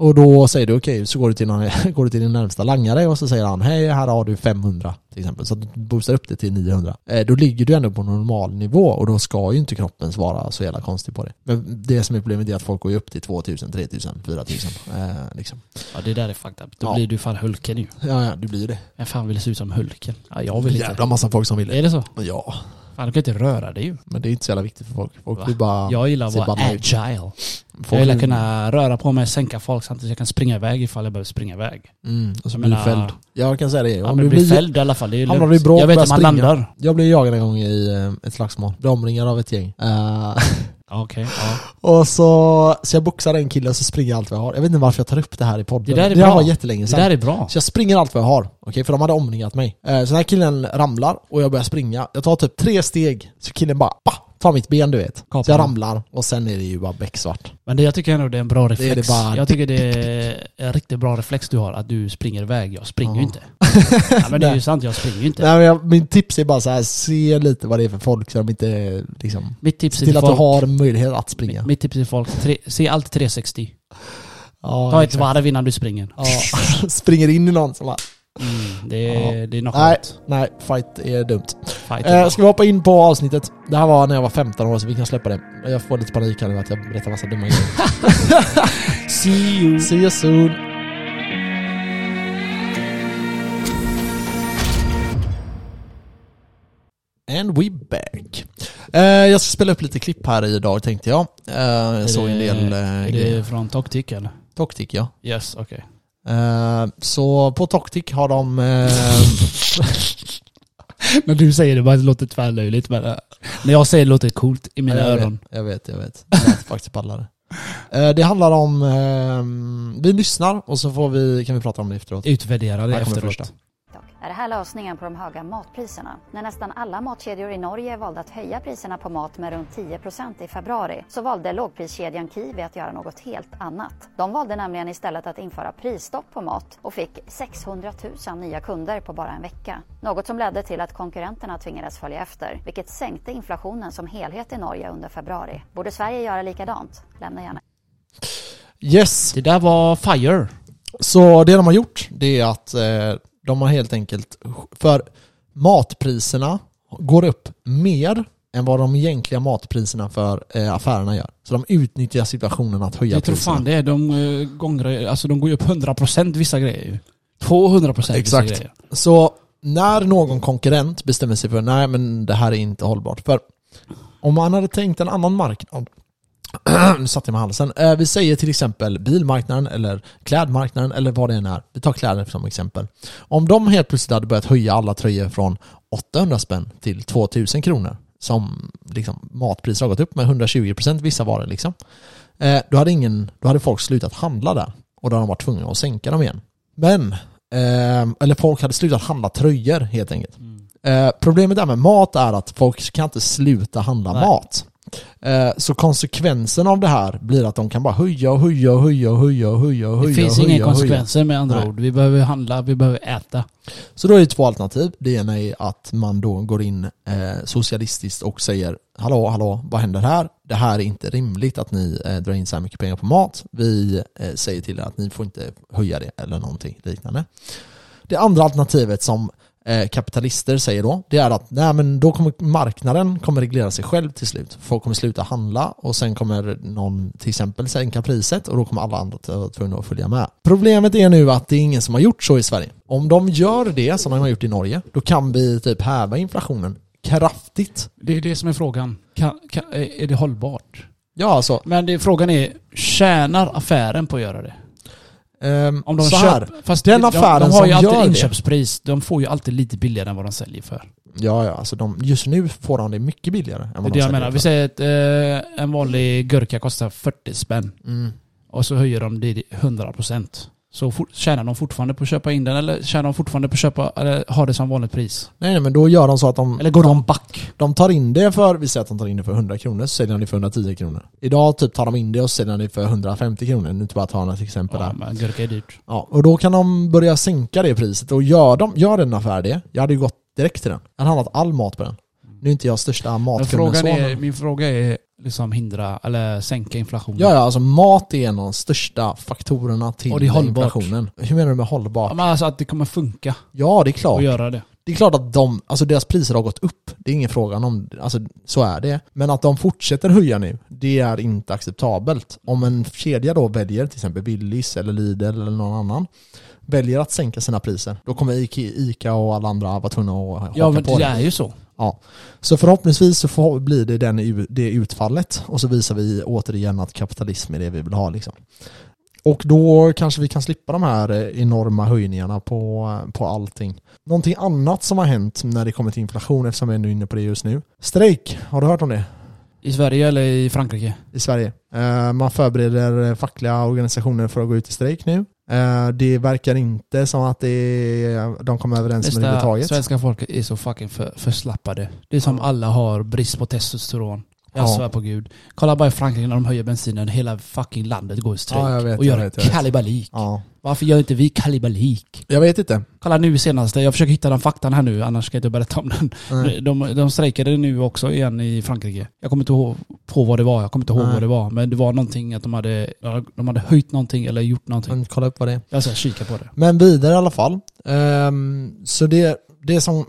Och då säger du okej, så går du, till någon, [laughs] går du till din närmsta langare och så säger han hej, här har du 500 till exempel. Så att du boostar upp det till 900. Eh, då ligger du ändå på normal nivå och då ska ju inte kroppen svara så jävla konstigt på det. Men det som är problemet är att folk går ju upp till 2000, 3000, 4000. Eh, liksom.
Ja, det där är fucked up. Då
Ja.
blir du fan Hulken ju.
Ja, ja, det blir ju det.
Vem fan vill se ut som Hulken? Ja, jag vill inte.
Jävla massa folk som vill det.
Är det så?
Ja,
Fan, du kan inte röra dig ju.
men det är inte så jävla viktigt för folk. Folk
Va?
vill bara...
Jag gillar att
ser
vara
bara nöjd.
agile.
Folk
Jag
vill-
gillar kunna röra på mig, sänka folk samtidigt som jag kan springa iväg ifall jag behöver springa iväg.
Mm, och så
Jag
blir du
alltså, menar-
fälld. Jag kan säga det.
Ja,
Om
men
du
blir
blir
fälld i alla fall, det är
Hamnar
lugnt.
du i bråk,
Jag vet
börjar
hur man
springa.
landar.
jag blev jagad en gång i eh, ett slagsmål. Blev omringad av ett gäng. Eh, [laughs]
Ja, Okej, ja.
och så, så jag boxar en kille och så springer jag allt vad jag har. Jag vet inte varför jag tar upp det här i podden.
Det där är
det här
bra.
var jättelänge
Det
sedan.
där är bra.
Så jag springer allt vad jag har. Okej, för de hade omringat mig. Eh, Så den här killen ramlar och jag börjar springa. Jag tar typ tre steg, så killen bara bah, tar mitt ben du vet.
Kapar
Så jag
den.
ramlar och sen är det ju bara becksvart.
Men det, jag tycker ändå det är en bra reflex.
det bara-
Jag tycker det är en riktigt bra reflex du har, att du springer iväg. Jag springer ju
Ja.
inte. Ja, men
[laughs]
det är ju sant, jag springer ju inte.
Nej, men jag, min tips är bara så här, se lite vad det är för folk så de inte eh, liksom...
Mitt tips
Se
är
till
till
att du
Typ folk,
har möjlighet att springa.
mitt, mitt tips är till folk tre, se allt 360.
Ja,
Ta ett
exakt.
varv innan du springer.
Ja, [laughs] springer in i någon som bara,
Mm, det, är,
Ja.
det
nej,
är knockout.
nej, fight är dumt.
Fight
Eh, ska vi hoppa in på avsnittet? Det här var när jag var 15 år så vi kan släppa det. Jag får lite panik här nu att jag berättar massa dumma grejer.
[laughs] See you.
See you soon! And we back. Eh, jag ska spela upp lite klipp här idag tänkte jag. Eh, jag såg en del eh,
Är
grejer.
det från Toktik eller?
Toktik ja.
Yes,
[laughs]
okej.
Eh, så på Toktik har de... Eh,
När du säger det bara det låter tvärlöjligt men eh, när jag säger det låter det coolt i mina
jag, vet,
öron.
jag vet, jag vet. Jag lät faktiskt pallare. [laughs] Eh, Det handlar om, eh, vi lyssnar och så får vi, kan vi prata om det efteråt.
Utvärdera det
Här kommer
efteråt.
första.
Är det här lösningen på de höga matpriserna? När nästan alla matkedjor i Norge valde att höja priserna på mat med runt 10 i februari så valde lågpriskedjan Kiwi att göra något helt annat. De valde nämligen istället att införa prisstopp på mat och fick 600 000 nya kunder på bara en vecka. Något som ledde till att konkurrenterna tvingades följa efter, vilket sänkte inflationen som helhet i Norge under februari. Borde Sverige göra likadant? Lämna gärna
Yes!
Det där var FIRE.
Så det de har gjort, det är att eh, de har helt enkelt, för matpriserna går upp mer än vad de egentliga matpriserna för eh, affärerna gör. Så de utnyttjar situationen att höja
Jag tror
priserna.
fan det är. De, eh, gånger, alltså, de går ju upp 100% vissa grejer ju. 200% vissa
Exakt.
grejer.
Så när någon konkurrent bestämmer sig för nej men det här är inte hållbart. För om man hade tänkt en annan marknad, [clears throat] nu satte jag mig i halsen. Eh, Vi säger till exempel bilmarknaden eller klädmarknaden eller vad det än är. Vi tar kläder som exempel. Om de helt plötsligt hade börjat höja alla tröjor från 800 spänn till 2000 kronor som liksom matpriser har gått upp med 120% vissa varor liksom. Eh, Då hade, ingen, då hade folk slutat handla där och då hade de varit tvungna att sänka dem igen. Men Ehm, eller folk hade slutat handla tröjor helt enkelt.
Mm.
Eh, problemet där med mat är att folk kan inte sluta handla
Nej.
mat. Eh, så konsekvensen av det här blir att de kan bara höja och höja och höja och höja och höja och
Det
höja.
finns
och höja
inga
och höja.
konsekvenser med andra
Nej.
ord. Vi behöver handla, vi behöver äta.
Så då är det två alternativ. Det ena är att man då går in eh, socialistiskt och säger Hallå, hallå, vad händer här? Det här är inte rimligt att ni eh, drar in så här mycket pengar på mat. Vi eh, säger till er att ni får inte höja det eller någonting liknande. Det andra alternativet som eh, kapitalister säger då, det är att nej, men då kommer marknaden kommer reglera sig själv till slut. Folk kommer sluta handla och sen kommer någon till exempel sänka priset och då kommer alla andra att vara tvungna att följa med. Problemet är nu att det är ingen som har gjort så i Sverige. Om de gör det som de har gjort i Norge, då kan vi typ häva inflationen kraftigt.
Det är det som är frågan. Kan, kan, eh, är är det hållbart?
Ja, alltså.
Men det, frågan är, tjänar affären på att göra det?
ehm,
Om de
så här.
köper, fast
Den
de,
affären
de har
som
ju
gör
alltid
det-
inköpspris. De får ju alltid lite billigare än vad de säljer för.
Ja, ja, alltså de, just nu får de det mycket billigare. Än vad
Det är
de
det jag
säljer
menar.
för.
Vi säger att eh, en vanlig gurka kostar 40 spänn.
Mm.
Och så höjer de det 100%. Så for, tjänar de fortfarande på att köpa in den eller tjänar de fortfarande på att köpa, eller har det som vanligt pris?
Nej, nej, men då gör de så att de...
Eller går de back?
De tar in det för, vi säger att de tar in det för 100 kronor, så säljer de det för 110 kronor. Idag typ tar de in det och säljer det för 150 kronor. Nu bara tar jag ett exempel
Ja,
där.
men gurka är dyrt.
Ja, och då kan de börja sänka det priset. Och gör, de, gör en affär det, jag hade ju gått direkt till den. Jag hade handlat all mat på den. Nu är inte jag största
Mm. Men
matkunden
frågan
så.
är,
men-
min fråga är liksom hindra eller sänka inflationen.
Ja, ja, alltså mat är en av de största faktorerna till
Och det är hållbart.
inflationen. Hur menar du med
Ja,
hållbart?
men alltså att det kommer funka
Ja, det är
att
klart.
göra det.
Det är klart att de, alltså deras priser har gått upp. Det är ingen frågan om, alltså så är det. Men att de fortsätter höja nu, det är inte acceptabelt. Om en kedja då väljer, till exempel Willys eller Lidl eller någon annan, väljer att sänka sina priser, då kommer Ike- Ica och alla andra vara tvungna att haka
Ja men
på
det
det.
är ju så.
Ja. Så förhoppningsvis så får, blir det den, u- det utfallet och så visar vi återigen att kapitalism är det vi vill ha. Liksom. Och då kanske vi kan slippa de här eh, enorma höjningarna på, eh, på allting. Någonting annat som har hänt när det kommer till inflation, eftersom vi är nu inne på det just nu. Strejk, har du hört om det?
I Sverige eller i Frankrike?
I Sverige. Eh, Man förbereder eh, fackliga organisationer för att gå ut i strejk nu. Eh, Det verkar inte som att det är, de kommer överens med det
Nästa,
överhuvudtaget.
svenska folket är så fucking för, förslappade. Det är som
Ja.
alla har brist på testosteron. Jag
Ja.
svär på gud. Kolla bara i Frankrike när de höjer bensinen. Hela fucking landet går i strejk.
Ja, jag vet,
och
jag
gör
vet, jag
en
vet.
kalabalik.
Ja.
Varför gör inte vi kalabalik?
Jag vet inte.
Kolla nu senaste. Jag försöker hitta den faktan här nu annars ska jag inte berätta om den.
Nej.
De, de strejkade nu också igen i Frankrike. Jag kommer inte ihåg på vad det var. Jag kommer inte ihåg
Nej.
vad det var. Men det var någonting att de hade, de hade höjt någonting eller gjort någonting.
Men kolla upp vad det är.
Jag ska kika på det.
Men vidare i alla fall. Ehm, så det, det, som,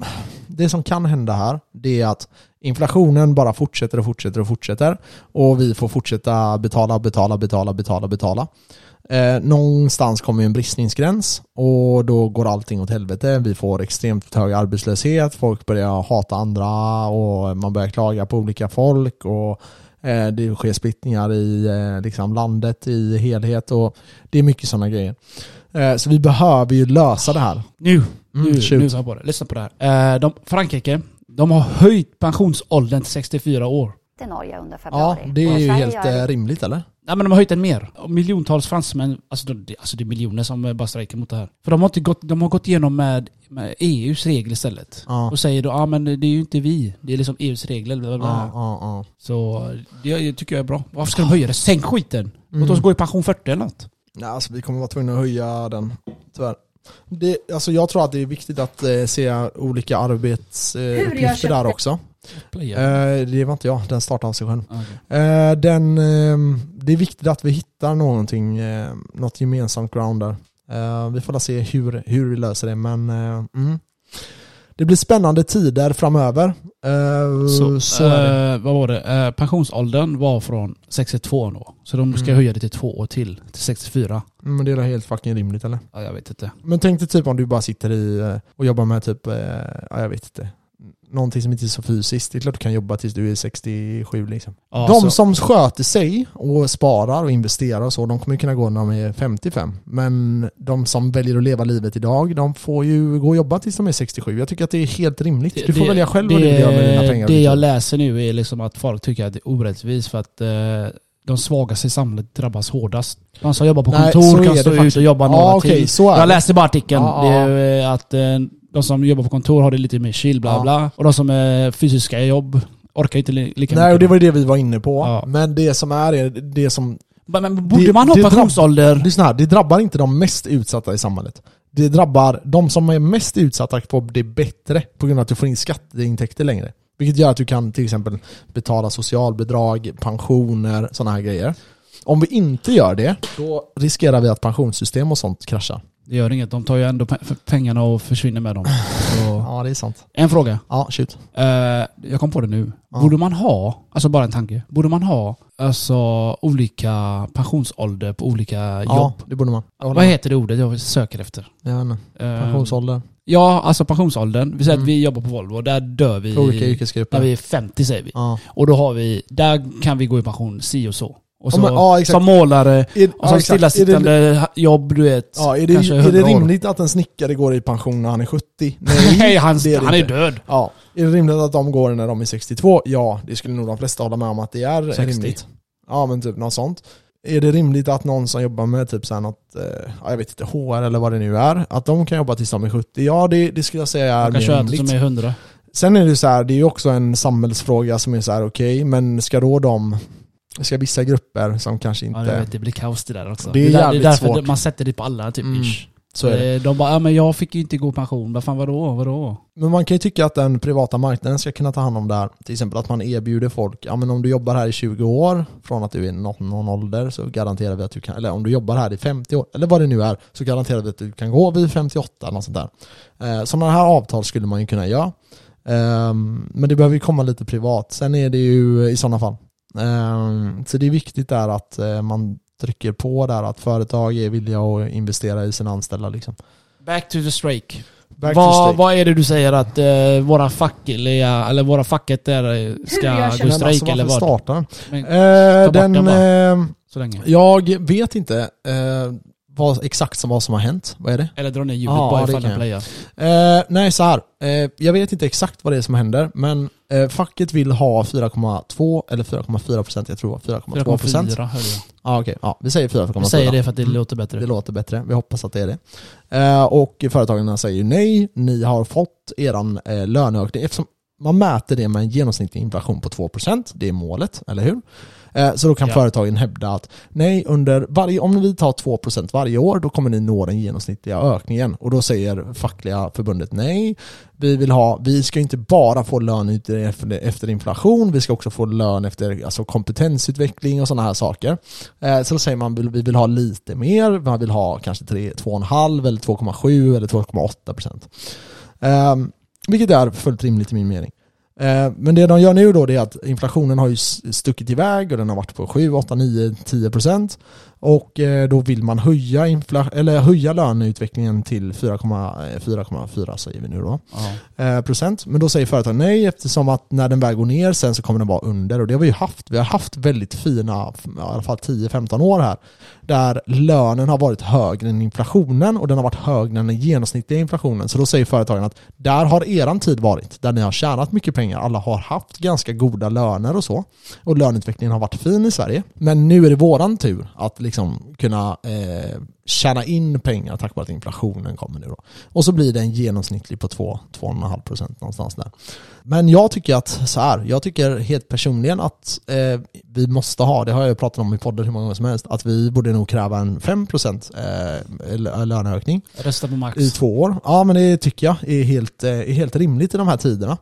det som kan hända här, det är att inflationen bara fortsätter och fortsätter och fortsätter. Och vi får fortsätta betala, betala, betala, betala, betala. Eh, någonstans kommer ju en bristningsgräns och då går allting åt helvete. Vi får extremt hög arbetslöshet, folk börjar hata andra och man börjar klaga på olika folk. och eh, Det sker splittningar i eh, liksom landet i helhet och det är mycket sådana grejer. Eh, Så vi behöver ju lösa det här.
Nu!
Mm,
nu,
shoot.
nu sa jag på det. Lyssna på det här. Eh, de, Frankrike, de har höjt pensionsåldern till 64 år.
till Norge under
Ja,
februari.
det är
Borde
ju
Sverige
helt
göra
eh, rimligt eller?
Ja men de har höjt den mer. Och Miljontals fransmän, alltså, de, det- alltså det är miljoner som eh, bara strejkar mot det här. För de har, inte gått, de har gått igenom med, med EUs regler istället.
Ja.
Och säger då, ja ah, men det är ju inte vi, det är liksom EUs regler. Bla, bla, bla.
Ja, ja, ja.
Så det tycker jag är bra. Varför ska de höja det? Sänk skiten!
Mm.
Låt oss gå i pension 40 eller något.
Nej, alltså vi kommer vara tvungna att höja den, tyvärr. Det, alltså jag tror att det är viktigt att eh, se olika
Hur
arbetsuppgifter
jag
eh, uppgifter där
köpte-
också.
Playa.
Eh, det var inte jag, den startade av sig själv.
Okej.
Eh, den, ehm, det är viktigt att vi hittar någonting, eh, något gemensamt ground där. Eh, vi får väl se hur, hur vi löser det, men eh, mm. det blir spännande tider framöver. Eh, så, är det.
Eh, vad var det? Eh, pensionsåldern var från 62 då. Så de ska
Mm.
höja det till två år till. Till 64.
Mm, Men det är väl helt fucking rimligt eller?
Ja, jag vet inte.
Men tänk dig typ om du bara sitter i eh, och jobbar med typ, eh, ja, jag vet inte, någonting som inte är så fysiskt. Det är klart du kan jobba tills du är 67 liksom.
Ja,
de
så-
som sköter sig och sparar och investerar och så, de kommer ju kunna gå när de är 55. Men de som väljer att leva livet idag, de får ju gå och jobba tills de är 67. Jag tycker att det är helt rimligt. Du får välja själv vad du vill göra med dina pengar.
Det jag läser nu är liksom att folk tycker att det är orättvist för att eh, de svagaste i samhället drabbas hårdast. De som jobbar på
Nej,
kontor
så är
kan
det
stå
faktiskt.
ut och jobba några
ja, okej,
till.
så är
Jag
det.
läste bara artikeln.
Ja,
det
ja.
är eh, att eh, de som jobbar på kontor har det lite mer chill, bla
Ja.
bla. Och de som är fysiska i jobb orkar inte li- lika
Nej, och
mycket.
det var ju det vi var inne på.
Ja.
Men det som är det, det som
Men- Men borde
Det-
man ha
det drabb-
pensionsålder?
Lyssna här, det drabbar inte de mest utsatta i samhället. Det drabbar de som är mest utsatta på det bättre på grund av att du får in skatteintäkter längre. Vilket gör att du kan till exempel betala socialbidrag, pensioner, sådana här grejer. Om vi inte gör det, då riskerar vi att pensionssystem och sånt kraschar.
Det gör inget, de tar ju ändå pe- pengarna och försvinner med dem. Så.
Ja, det är sant.
En fråga.
Ja, shoot.
Eh, jag kom på det nu.
Ja.
Borde man ha, alltså bara en tanke, borde man ha alltså, olika pensionsålder på olika
Ja,
jobb?
det borde man. Jag håller
Vad
med.
heter det ordet jag söker efter?
Jag vet inte.
Eh,
Pensionsålder.
Ja, alltså pensionsåldern. Vi säger
Mm.
att vi jobbar på Volvo, där dör vi
För olika
när
yrkesgrupper.
vi är 50 säger vi.
Ja.
Och då har vi, där kan vi gå i pension si och så.
Ja,
Och så
men- ja, exakt.
som målare,
Är-
och som
ja, exakt. Är det-
stillasittande ha- jobb du vet.
Ja, är det,
kanske
är det
100 [laughs] år.
rimligt att en snickare går i pension när han är 70?
Nej, han,
det är det
han är
inte.
död.
Ja, är det rimligt att de går när de är 62? Ja, det skulle nog de flesta hålla med om att det är
60.
rimligt. Ja, men typ något sånt. Är det rimligt att någon som jobbar med typ så här något, eh, ja, jag vet inte, HR eller vad det nu är, att de kan jobba tills de är 70? Ja, det, det skulle jag säga är
Han kan
mer
köra
rimligt.
som är 100.
Sen är det ju så här, det är ju också en samhällsfråga som är så här, okej, men ska då de, ska vissa grupper som kanske
Ja, jag
inte,
vet, det blir kaos det där också.
Det är
där-
jävligt
därför
svårt.
man sätter det på alla typ.
Mm,
ish.
så är det.
Eh, De bara, ja, men jag fick ju inte gå i pension. Vad fan vadå? Vadå?
Men man kan ju tycka att den privata marknaden ska kunna ta hand om det här. Till exempel att man erbjuder folk, ja men om du jobbar här i 20 år, från att du är någon, någon ålder, så garanterar vi att du kan, eller om du jobbar här i 50 år, eller vad det nu är, så garanterar vi att du kan gå vid 58, något sånt där. Eh, sådana här avtal skulle man ju kunna göra. Ehm, men det behöver ju komma lite privat. Sen är det ju i sådana fall. Ehm, så det är viktigt där att eh, man trycker på där att företag är villiga att investera i sina anställda liksom.
Back to the strike.
Back to
vad,
steak.
vad är det du säger att eh, våra fackliga, eller våra facket där eh, ska gå i
Men
strejk
alltså,
eller
varför
vad?
startar den?
Men,
Eh,
bort
den,
den
eh,
så länge.
jag vet inte eh, vad, exakt som vad som har hänt. Vad är det?
Eller dra ner ljudet
Ja,
bara
det
ifall
kan
den
jag.
playar.
Eh, nej, så här. Eh, jag vet inte exakt vad det är som händer, men eh, facket vill ha 4,2 eller 4,4 procent. Jag tror det var 4,2 procent.
4,4 hörde jag.
Ja, okej. Ja, vi säger 4,4.
Vi säger det för att det låter
Det
bättre.
låter bättre. Vi hoppas att det är det. Eh, och företagen säger nej, ni har fått eran eh, löneökning. Eftersom man mäter det med en genomsnittlig inflation på 2%, det är målet, eller hur? Eh, så då kan
Ja.
företagen hävda att nej, under varje, om vi tar 2% varje år, då kommer ni nå den genomsnittliga ökningen. Och då säger fackliga förbundet nej. Vi vill ha, vi ska inte bara få lön ut- efter, efter inflation, vi ska också få lön efter alltså, kompetensutveckling och sådana här saker. Eh, så då säger man vill- vi vill ha lite mer, man vill ha kanske tre- 2,5 eller 2,7 eller 2,8 procent. Ehm, vilket är fullt rimligt i min mening. Eh, Men det de gör nu då det är att inflationen har ju s- stuckit iväg och den har varit på 7, 8, 9, 10 procent. Och eh, då vill man höja, infla- eller höja löneutvecklingen till eh, 4,4 säger vi nu då.
Ja.
eh, procent. Men då säger företaget nej eftersom att när den väl går ner sen så kommer den vara under. Och det har vi ju haft. Vi har haft väldigt fina, i alla fall 10-15 år här, där lönen har varit högre än inflationen och den har varit högre än den genomsnittliga inflationen. Så då säger företagen att där har eran tid varit, där ni har tjänat mycket pengar. Alla har haft ganska goda löner och så. Och löneutvecklingen har varit fin i Sverige. Men nu är det våran tur att liksom kunna eh, tjäna in pengar tack vare att inflationen kommer nu då. Och så blir den genomsnittlig på 2-2,5 procent någonstans där. Men jag tycker att så här, jag tycker helt personligen att eh, vi måste ha, det har jag ju pratat om i podden hur många gånger som helst, att vi borde nog kräva en 5 procent eh, lö- löneökning
Rösta på Max.
i två år. Ja men det tycker jag är helt, eh, är helt rimligt i de här tiderna.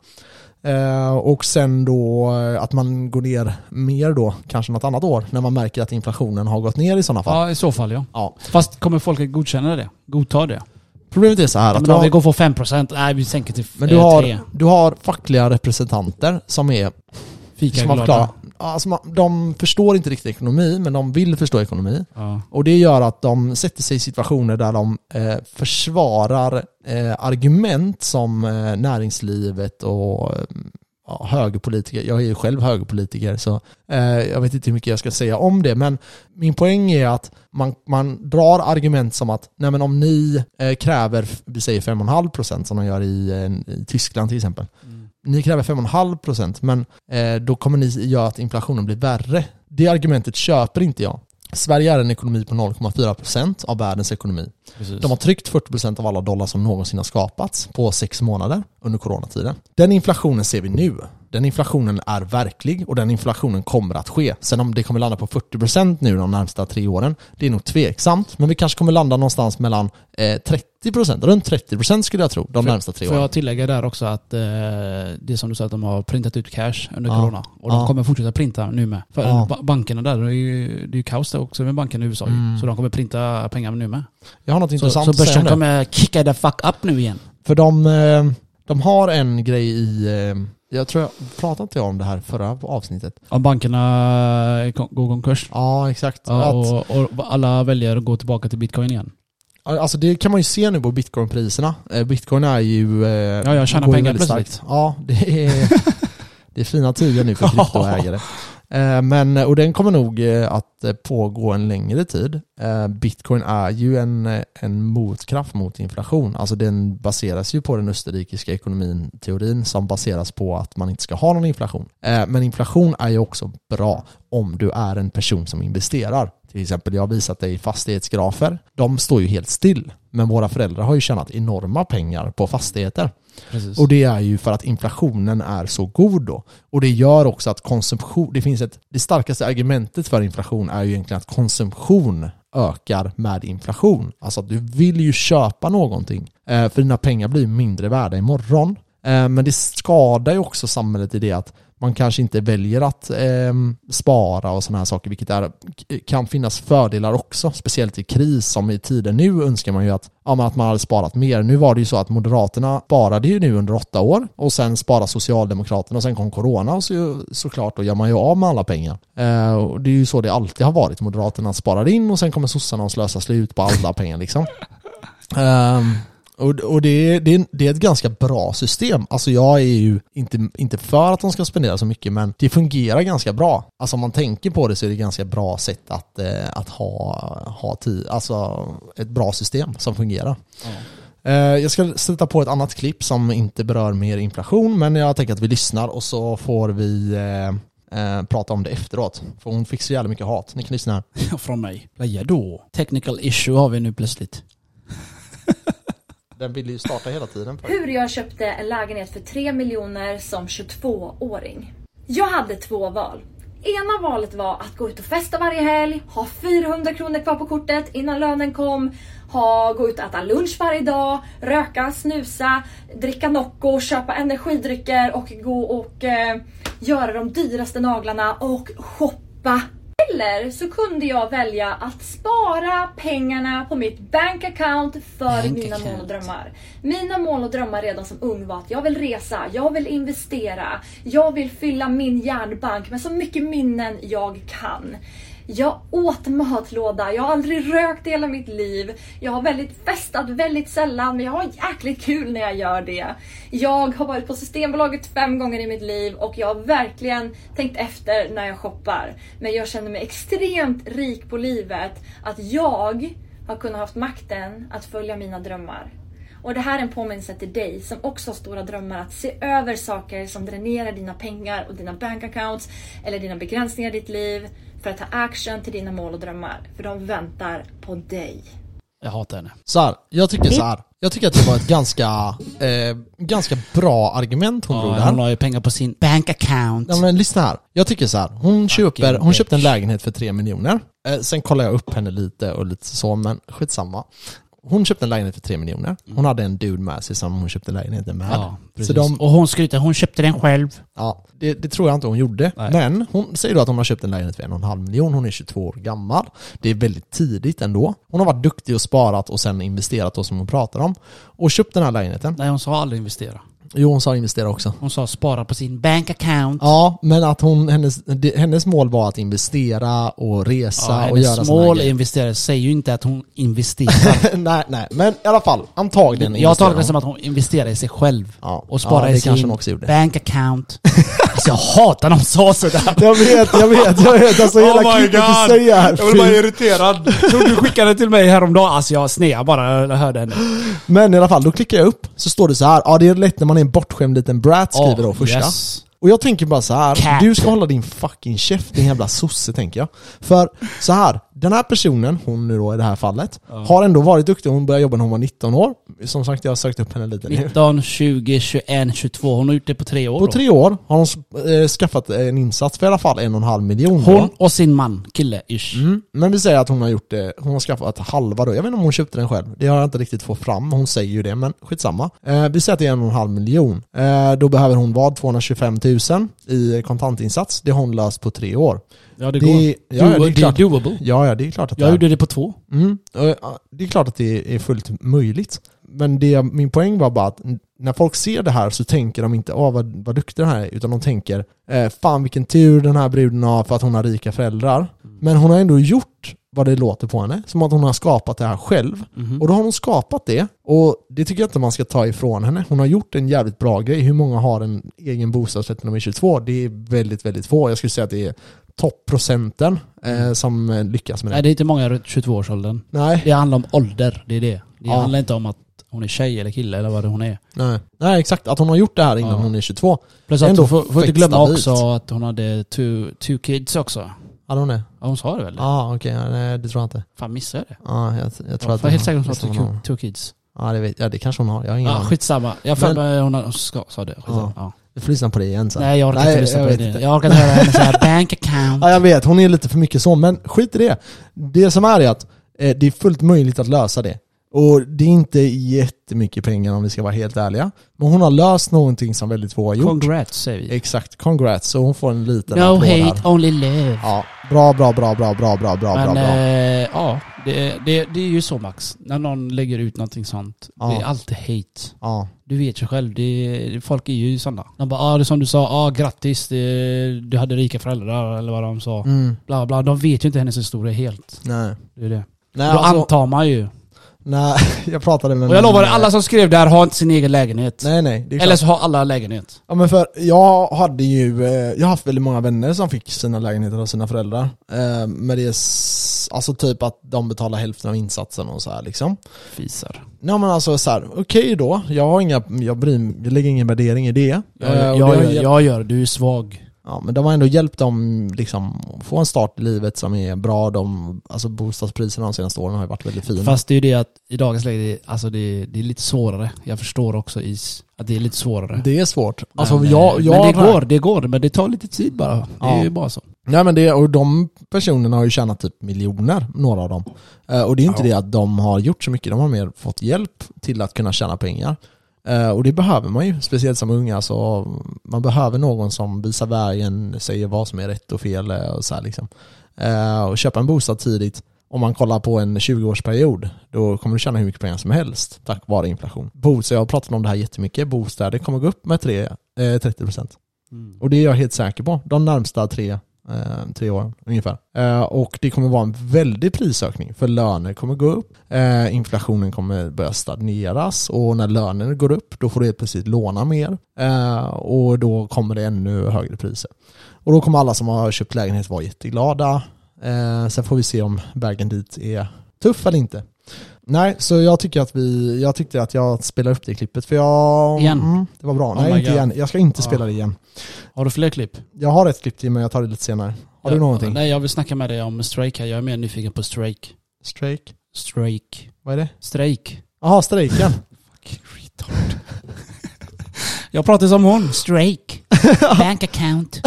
Eh, Och sen då eh, att man går ner mer då, kanske något annat år, när man märker att inflationen har gått ner i sådana fall.
Ja, i så fall ja.
Ja.
Fast kommer folk att godkänna det? Godta det?
Problemet är så här att
Men
jag-
om vi går för 5%, nej vi sänker till eh,
Men du har, du har fackliga representanter som är... Som har förklarat, alltså man, de förstår inte riktigt ekonomi, men de vill förstå ekonomi.
Ja.
Och det gör att de sätter sig i situationer där de eh, försvarar eh, argument som eh, näringslivet och eh, ja, högerpolitiker, jag är ju själv högerpolitiker så eh, jag vet inte hur mycket jag ska säga om det men min poäng är att man, man drar argument som att nej men om ni eh, kräver, vi säger 5,5% som de gör i, eh, i Tyskland till exempel ni kräver 5,5% men eh, då kommer ni göra att inflationen blir värre. Det argumentet köper inte jag. Sverige är en ekonomi på 0,4% av världens ekonomi.
Precis.
De har tryckt 40% av alla dollar som någonsin har skapats på sex månader under coronatiden. Den inflationen ser vi nu. Den inflationen är verklig och den inflationen kommer att ske. Sen om det kommer landa på 40% nu de närmsta tre åren, det är nog tveksamt. Men vi kanske kommer landa någonstans mellan eh, 30%, runt 30% skulle jag tro, de närmsta tre
Får
åren.
jag tillägga där också att eh, det som du sa att de har printat ut cash under
Ja.
corona. Och de
Ja.
kommer fortsätta printa nu med. För
Ja.
ba- bankerna där, det är, ju, det är ju kaos där också med bankerna i USA ju.
Mm.
Så de kommer printa pengar nu med.
Jag har något
Så,
intressant
så
att säga om
börsen
det.
kommer kicka the fuck up nu igen.
För de, eh, de har en grej i, eh, jag tror jag pratade inte jag om det här förra avsnittet?
Om bankerna eh, kon- går konkurs.
Ja exakt.
Ja,
att,
och, och alla väljer att gå tillbaka till bitcoin igen.
alltså det kan man ju se nu på bitcoinpriserna. Eh, Bitcoin är ju... eh,
Ja, jag tjänar
går ju
pengar
väldigt
plötsligt.
starkt. Ja, det
[laughs]
är, det är fina tider nu för kryptoägare. Eh, Men, och den kommer nog eh, att eh, pågå en längre tid. Eh, Bitcoin är ju en, eh, en motkraft mot inflation. Alltså den baseras ju på den österrikiska ekonomin, teorin, som baseras på att man inte ska ha någon inflation. Eh, Men inflation är ju också bra om du är en person som investerar. Till exempel, jag har visat dig fastighetsgrafer. De står ju helt still. Men våra föräldrar har ju tjänat enorma pengar på fastigheter.
Precis.
Och det är ju för att inflationen är så god då. Och det gör också att konsumtion, det finns ett, det starkaste argumentet för inflation är ju egentligen att konsumtion ökar med inflation. Alltså att du vill ju köpa någonting. Eh, för dina pengar blir mindre värda imorgon. Eh, men det skadar ju också samhället i det att man kanske inte väljer att ehm, spara och sådana här saker, vilket är, kan finnas fördelar också, speciellt i kris som i tider nu önskar man ju att, ja, men att man hade sparat mer. Nu var det ju så att Moderaterna sparade ju nu under åtta år och sen sparade Socialdemokraterna och sen kom Corona och så, såklart då gör man ju av med alla pengar. Eh, och det är ju så det alltid har varit. Moderaterna sparar in och sen kommer sossarna och slösar slut på alla pengar liksom. Ehm, och och det, är, det, är, det är ett ganska bra system. Alltså jag är ju inte, inte för att de ska spendera så mycket, men det fungerar ganska bra. Alltså om man tänker på det så är det ett ganska bra sätt att, eh, att ha, ha tid, alltså ett bra system som fungerar. Eh, Jag ska sätta på ett annat klipp som inte berör mer inflation, men jag tänker att vi lyssnar och så får vi eh, eh, prata om det efteråt. För hon fick så jävla mycket hat. Ni kan lyssna här.
Från mig. Playa då. Technical issue har vi nu plötsligt.
Den vill ju starta hela tiden.
Hur jag köpte en lägenhet för 3 miljoner som 22-åring. Jag hade två val. Ena valet var att gå ut och festa varje helg, ha 400 kronor kvar på kortet innan lönen kom, ha, gå ut och äta lunch varje dag, röka, snusa, dricka Nocco, köpa energidrycker och gå och eh, göra de dyraste naglarna och shoppa eller så kunde jag välja att spara pengarna på mitt bank account för
Bank
mina mål och
account.
drömmar. Mina mål och drömmar redan som ung var att jag vill resa, jag vill investera, jag vill fylla min hjärnbank med så mycket minnen jag kan. Jag åt matlåda, jag har aldrig rökt i hela mitt liv. Jag har väldigt festat väldigt sällan men jag har jäkligt kul när jag gör det. Jag har varit på Systembolaget fem gånger i mitt liv och jag har verkligen tänkt efter när jag shoppar. Men jag känner mig extremt rik på livet att jag har kunnat haft makten att följa mina drömmar. Och det här är en påminnelse till dig som också har stora drömmar att se över saker som dränerar dina pengar och dina bankaccounts eller dina begränsningar i ditt liv för att ta action till dina mål och drömmar. För de väntar på dig.
Jag hatar henne.
Så här, jag tycker så här. Jag tycker att det var ett ganska, eh, ganska bra argument hon drog
Ja,
där.
hon har ju pengar på sin bank account.
Ja, men lyssna här. Jag tycker så här. Hon, köper, hon köpte en lägenhet för 3 miljoner. Eh, sen kollar jag upp henne lite och lite så, men skitsamma. Hon köpte en lägenhet för 3 miljoner. Hon hade en dude med sig som hon köpte lägenheten med.
Mm. Ja,
så
precis.
de,
Och hon skryter, hon köpte den själv.
ja, det, det tror jag inte hon gjorde.
Nej.
Men hon säger då att hon har köpt en lägenhet för en och en halv miljon. Hon är 22 år gammal. Det är väldigt tidigt ändå. Hon har varit duktig och sparat och sen investerat då som hon pratar om. Och köpt den här lägenheten.
Nej, hon sa aldrig investera.
Jo, hon sa investera också.
Hon sa spara på sin bank account.
Ja, men att hon, hennes, det- hennes mål var att investera och resa och göra
hennes
såna här
mål
grejer.
investerare säger ju inte att hon
[laughs]
investerar.
nej, nej, men i alla fall. Antagligen
jag tolkar
investerar
det som att hon investerar i sig själv.
Ja.
Och sparar
Ja, det
i
kanske
sin
hon också gjorde. [laughs]
bank account. alltså jag hatar när hon sa sådär. Oh
hon. Jag vet, jag vet, jag vet. Alltså hela klippet du säger här. fy.
irriterad. Så du skickade till mig häromdagen. Alltså jag snear bara när jag hörde henne.
Men i alla fall, då klickar jag upp. Så står det så här. Ja, det är lätt när man är en bortskämd liten brat, skriver då första.
yes.
Och jag tänker bara så här.
Cat.
du ska hålla din fucking käft din jävla sosse tänker jag. För så här, den här personen, hon nu då i det här fallet, har ändå varit duktig. Hon började jobba när hon var 19 år. Som sagt, jag har sökt upp henne lite nu.
19, 20, 21, 22. Hon har gjort det på tre år.
På
då.
tre år har hon eh, skaffat en insats för i alla fall en och en halv miljon. då.
Hon och sin man, kille, ish.
Mm. Men vi säger att hon har gjort det, hon har skaffat halva då. Jag vet inte om hon köpte den själv. Det har jag inte riktigt fått fram. Hon säger ju det, men skitsamma. Eh, vi säger att det är en och en halv miljon. Eh, då behöver hon vad? 225 000 i kontantinsats. Det har hon löst på tre år.
Ja det,
Det-
går.
ja, ja, det är
det, är
klart.
doable.
Ja, ja, det är klart att
Jag
det är.
gjorde det på två.
Mm. Eh, Det är klart att det är fullt möjligt. Men det, min poäng var bara att när folk ser det här så tänker de inte åh vad, vad duktig den här är, utan de tänker eh, fan vilken tur den här bruden har för att hon har rika föräldrar. Men hon har ändå gjort vad det låter på henne, som att hon har skapat det här själv. Och då har hon skapat det och det tycker jag inte man ska ta ifrån henne. Hon har gjort en jävligt bra grej. Hur många har en egen bostadsrätt när de är 22? Det är väldigt, väldigt få. Jag skulle säga att det är topprocenten eh, som eh, lyckas med det.
Nej det är inte många runt 22-årsåldern.
Nej.
Det handlar om ålder, det är det. Det
Ja.
handlar inte om att hon är tjej eller kille eller vad det hon är.
Nej. Nej, exakt. Att hon har gjort det här innan
Ja.
hon är 22.
Plus att
Ändå
hon får, får inte
fett
glömma
stabilt.
också att hon hade two, two kids också.
Hade hon det?
Ja, hon sa det väl?
Ja,
Ja.
ah, okej. Ja, nej, det tror jag inte.
Fan missade jag det?
Ja, jag, jag tror
Jag
att
var helt säker på
visst
att hon sa
har.
two, two kids.
Ja, det vet jag. Det kanske hon har. Jag har ingen
Ja,
aning.
skitsamma. Jag för mig hon har- hon ska, sa det. Skitsamma. Ja.
Vi får lyssna på det igen sen.
Nej jag orkar inte lyssna på
vet
det.
inte.
Jag orkar inte höra henne säga
[laughs]
bank account.
Ja, jag vet. Hon är lite för mycket så, men skit i det. Det som är är att eh, det är fullt möjligt att lösa det. Och det är inte jättemycket pengar om vi ska vara helt ärliga. Men hon har löst någonting som väldigt få har gjort.
Congrats säger vi.
Exakt. Congrats. Så hon får en liten
No
applåd
hate,
här.
only love.
Ja, bra, bra, bra, bra, bra, bra, bra, bra,
Men
bra.
eh, ja, det, är- det, är- det är ju så Max. När någon lägger ut någonting sånt,
Ja.
det är alltid hate.
Ja.
Du vet ju själv, det, är- folk är ju sådana. De bara, ah, det är som du sa, ah, grattis, det, du hade rika föräldrar eller vad de sa.
Mm.
Bla, bla. De vet ju inte hennes historia helt.
Nej.
Det är det.
Nej,
Då
alltså-
antar man ju.
Nej, [laughs] jag pratade med
Och jag
min- eh,
lovar, alla som skrev där har inte sin egen lägenhet.
Nej nej, det är
Eller
klart.
så har alla lägenhet.
Ja, men för jag hade ju, eh, jag har haft väldigt många vänner som fick sina lägenheter av sina föräldrar. Eh, Men det är, s- alltså typ att de betalar hälften av insatsen och så här liksom.
Fisar.
Nej men alltså så här, okej då, jag har inga, jag, bryr, jag lägger ingen värdering i det. Eh, och
Jag, jag,
det har
jag,
hjälpt-
jag gör, du är svag.
Ja, men de har ändå hjälpt dem liksom, att få en start i livet som är bra. De, alltså bostadspriserna de senaste åren har ju varit väldigt fina.
Fast det är ju det att i dagens läge, det, är- alltså det, är- det är lite svårare. Jag förstår också i, s- att det är lite svårare.
det är svårt. Alltså,
men, eh,
jag, jag
men det går, det går. Men det tar lite tid bara. Det
Ja.
är ju bara så.
Nej men det, och de personerna har ju tjänat typ miljoner, några av dem. Eh, och det är ju inte det att de har gjort så mycket, de har mer fått hjälp till att kunna tjäna pengar. Eh, och det behöver man ju, speciellt som unga. Så man behöver någon som visar vägen, säger vad som är rätt och fel. eh, Och, så här liksom. Eh, och köpa en bostad tidigt, om man kollar på en 20-årsperiod, då kommer du tjäna hur mycket pengar som helst tack vare inflation. Bostäder, jag har pratat om det här jättemycket, Mm. bostäder kommer gå upp med 3, eh, 30%. Och det är jag helt säker på, de närmsta tre eh, tre åren ungefär. Eh, och det kommer vara en väldig prisökning för löner kommer gå upp, eh, inflationen kommer börja stagneras och när löner går upp då får du helt plötsligt låna mer eh, och då kommer det ännu högre priser. Och då kommer alla som har köpt lägenhet vara jätteglada. Eh, sen får vi se om vägen dit är tuff eller inte. Nej, så jag tycker att vi, jag tyckte att jag spelar upp det klippet för jag...
Igen.
Mm, det var bra.
Oh
Nej,
my
inte
God.
igen. Jag ska inte
Ja.
spela det igen.
Har du fler klipp?
Jag har ett klipp till men jag tar det lite senare. Har du
Ja,
någonting?
Nej, jag vill snacka med dig om strejk här. Jag är mer nyfiken på strejk.
Strejk?
Strejk.
Vad är det?
Strejk.
Jaha, strejken.
Jag pratar som hon. [laughs] Strejk. Bank account.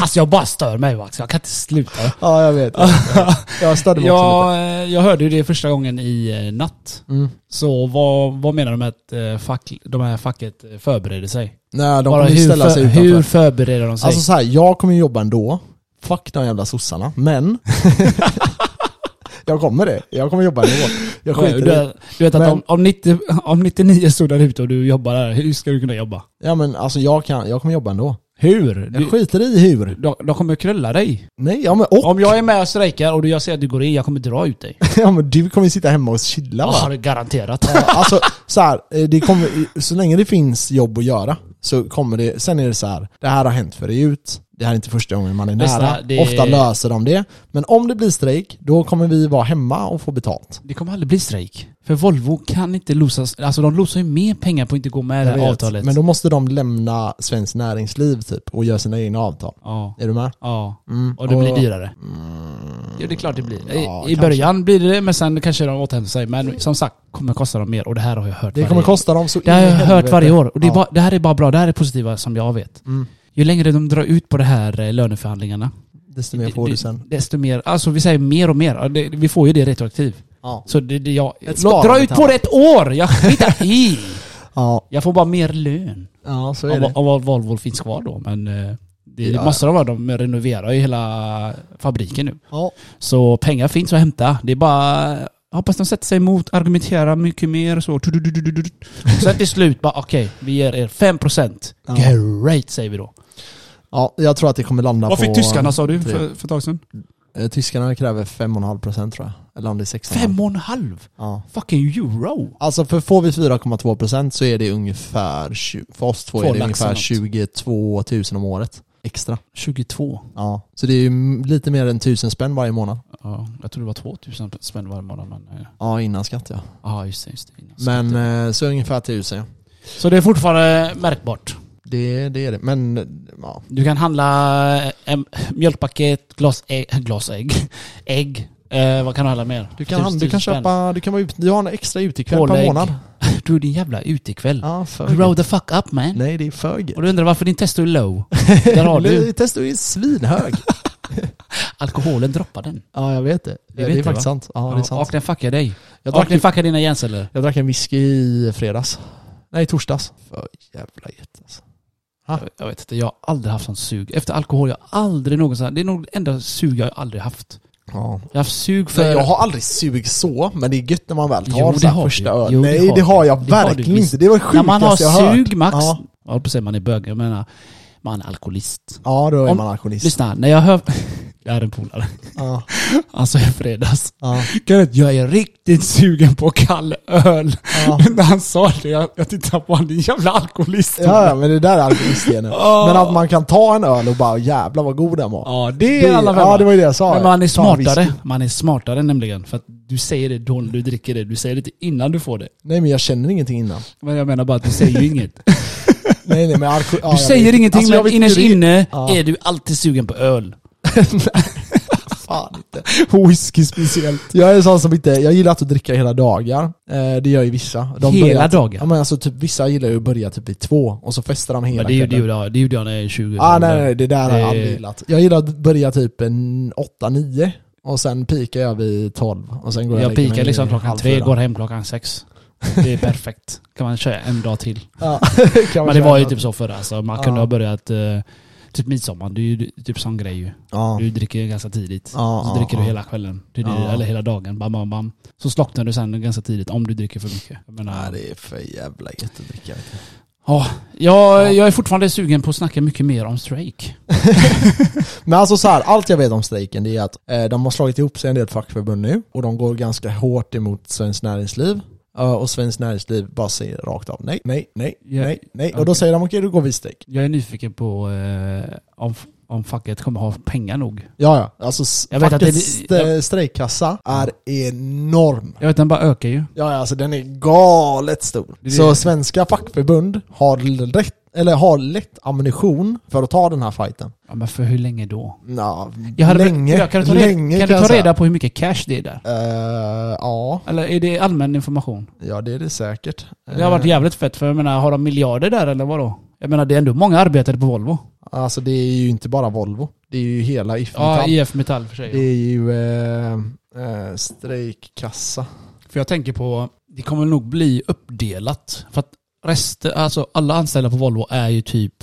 Alltså jag bara stör mig va. Så jag kan inte sluta.
[laughs] ja, jag vet. [laughs] Jag stödde mig också
Jag, eh, jag hörde ju det första gången i eh, natt.
lite. Mm.
Så vad, vad menar de med att eh, fack, de här facket eh, förbereder sig?
Nej, de
Bara
kommer ju
hur,
ställa sig
för, hur
utanför.
förbereder de sig?
Alltså så här, jag kommer ju jobba ändå. Fuck de jävla sossarna.
[laughs]
Men... jag kommer det. Jag kommer jobba ändå. Jag skiter i
du,
det.
du vet att
Men-
om, om, 90, om 99 står där ute och du jobbar där, hur ska du kunna jobba?
Ja men alltså jag kan, jag kommer jobba ändå.
Hur?
Jag
Du,
skiter i hur.
de, de kommer knulla dig.
Nej, ja men och.
Om jag är med och strejkar och du- jag ser att du går i, jag kommer dra ut dig.
[laughs] Ja men du kommer ju sitta hemma och chilla
Ja,
va?
det är garanterat.
Ja, [laughs] alltså så här, eh, det kommer, så länge det finns jobb att göra så kommer det, sen är det så här, det här har hänt förut, det här är inte första gången man är
Lyssna,
nära,
det-
ofta löser de det. Men om det blir strejk, då kommer vi vara hemma och få betalt.
Det kommer aldrig bli strejk. För Volvo kan inte losas. Alltså de losar ju mer pengar på att inte gå med i det
Jag
här
vet.
avtalet.
Men då måste de lämna Svenskt Näringsliv typ och göra sina egna avtal.
Ja.
Är du med?
Ja.
Mm.
Och det blir
Och- Mm.
dyrare. Jo, det är klart det blir. I,
ja,
i
kanske.
början blir det det, men sen kanske de återhämtar sig. Men som sagt, kommer kosta dem mer. Och det här har jag hört
Det
varje
kommer
år.
kosta dem så
Det har
in i
jag hört
helvete.
varje år. Och det, är
Ja.
bara, det här är bara bra. Det här är positiva som jag vet.
Mm.
Ju längre de drar ut på det här eh, löneförhandlingarna,
Desto mer får
det-
du sen.
desto mer, alltså vi säger mer och mer. Ja, Det, vi får ju det retroaktivt.
Ja.
Så det, det, jag,
Ett
låt, dra
sparande,
ut på det ett år! Jag skiter i!
Ja.
Jag får bara mer lön.
ja, så är
Om,
det.
om Vol- Volvo finns kvar då, men eh, det
Ja.
måste de vara. De renoverar ju hela fabriken nu.
Ja.
Så pengar finns att hämta. Det är bara... Jag hoppas de sätter sig emot, argumenterar mycket mer så. Tudududududu. Och Sen till slut bara okej, vi ger er 5%.
Ja.
Great säger vi då.
ja, jag tror att det kommer landa
Vad
på...
fick tyskarna sa du
tre.
för, för ett tag sedan?
Eh, Tyskarna kräver 5,5% tror jag. Eller om det är 16.
5,5?
Ja.
Fucking euro!
Alltså för får vi 4,2% så är det ungefär, 20, för oss två
Två
är det
lax
ungefär
eller något.
22 000 om året extra.
22.
Ja. Så det är ju m- lite mer än 1000 spänn varje månad.
Ja, jag tror det var 2000 spänn varje månad men... eh,
Ja, innan skatt ja.
Ja, just det. Just det innan
Men
skatten.
eh, så ungefär 1000 ja.
Så det är fortfarande märkbart.
Det, det är det. Men eh, ja.
Du kan handla eh, em, mjölkpaket, [laughs] glasägg, glasägg, ägg. Eh, vad kan du handla mer?
Du kan,
Tusen-
du kan
tusen spänn.
köpa, du kan vara ute, du har en extra utekväll per
Pålägg.
månad.
[laughs] Du är din jävla utekväll.
Ja,
Grow
för
the fuck up man.
Nej, det är fög.
Och du undrar varför din testo
[laughs]
är low? Där har du.
Testo är svinhög.
Alkoholen droppar den.
ja, jag vet det. Det,
vet
är
det,
faktiskt
va?
sant. Ja, det är sant.
och den fuckar dig.
Jag
och
drack,
den fuckar dina hjärnceller.
jag drack en whisky i fredags. Nej, i torsdags. För jävla jätte alltså. Ja.
Jag- Jag vet inte, jag har aldrig haft sån sug. Efter alkohol, jag har aldrig någonsin... Det är nog det enda sug jag aldrig haft.
Ja.
Jag har haft sug för...
För jag har aldrig sug så, men det är gött när man väl tar
Jo, det
så här
har
första
du.
öl.
Jo, det
Nej,
har
det har
du.
jag
Det har du
verkligen
visst.
inte. Det var det
När
sjukaste
man har
jag hört.
sug, Max.
Ja,
Jag håller på att säga man är bög, jag menar... Man är alkoholist.
ja då är
Om-
man alkoholist.
Lyssna, när jag hör... [laughs] Jag är en polare.
Ja,
[laughs] Alltså i fredags.
ja,
Kenneth, Jag är riktigt sugen på kall öl.
ja.
[laughs] När han sa det, jag, jag tittade på honom, din jävla alkoholist.
ja, ja, men det där är [laughs] alkoholistgenen.
Ja.
Men att man kan ta en öl och bara jävla vad god den var.
Ja, det är alla
Ja, det var ju det jag sa.
Men man är
Ta en whisky.
smartare. Man är smartare nämligen. För att du säger det då när du dricker det. Du säger det inte innan du får det.
Nej men jag känner ingenting innan.
Men jag menar bara att du
[laughs]
säger ju inget.
Nej nej men alko- ja,
Du
jag
säger
vet.
ingenting
Alltså, jag
men
vet
innerst
inte hur det-
inne
Ja.
är du alltid sugen på öl.
Fan inte.
Whisky speciellt.
Jag är en sån som inte, jag gillar inte att dricka hela dagar. Eh, det gör ju vissa.
Hela
börjar,
dagar?
Ja men alltså typ vissa gillar ju att börja typ vid två och så festar de hela
Men det gjorde
kvällen.
ju jag, det gjorde jag när jag är 20.
Ah, nej, nej, det där har jag
Eh.
aldrig gillat. Jag gillar att börja typ en 8-9 och sen pikar jag vid 12. Och sen går jag
Jag
och lägger mig
pikar liksom
vid
klockan
halv
tre,
fyra.
går hem klockan sex. Det är perfekt. Kan man köra en dag till.
Ja, [laughs] kan man
Men det var ju
köra.
typ så förr alltså. Man
Ja.
kunde ha börjat eh, typ midsommar. Det är ju typ sån grej ju.
Ja.
Du dricker ju ganska tidigt.
Ja,
så
ja,
dricker
ja.
du hela kvällen. Det är det,
Ja.
Eller hela dagen. Bam, bam, bam. Så slocknar du sen ganska tidigt om du dricker för mycket. Jag,
Nej,
menar,
det är för jävla gött att dricka. vet du.
ja, jag, jag är fortfarande sugen på att snacka mycket mer om strejk.
Men alltså så här, allt jag vet om strejken det är att eh, de har slagit ihop sig en del fackförbund nu och de går ganska hårt emot Svenskt Näringsliv. Eh, och Svenskt Näringsliv bara säger rakt av nej, nej, nej,
Ja,
nej, nej. Och då
okej.
säger de okej, då går vi i strejk.
Jag är nyfiken på eh, om, om facket kommer ha pengar nog.
Ja, ja. Alltså s-
Jag vet att det-
fackets st- strejkkassa är enorm.
Jag vet den bara ökar ju.
Ja, ja, alltså den är galet stor.
Det är
Så
det.
svenska fackförbund har rätt eller har lätt ammunition för att ta den här fighten.
Ja, men för hur länge då?
Ja,
Jag hade
länge.
jag kan du ta reda,
länge
kan du
jag
ta
säga.
reda på hur mycket cash det är där?
Eh, ja,
Eller är det allmän information?
ja det är det säkert.
Det har varit
Eh,
jävligt fett för jag menar, har de miljarder där eller vadå? Jag menar det är ändå många arbetare på Volvo.
Alltså det är ju inte bara Volvo. Det är ju hela IF
Ja,
Metall.
IF Metall för sig.
Det är ju eh, eh, strejkkassa.
För jag tänker på, det kommer nog bli uppdelat. För att resten, alltså alla anställda på Volvo är ju typ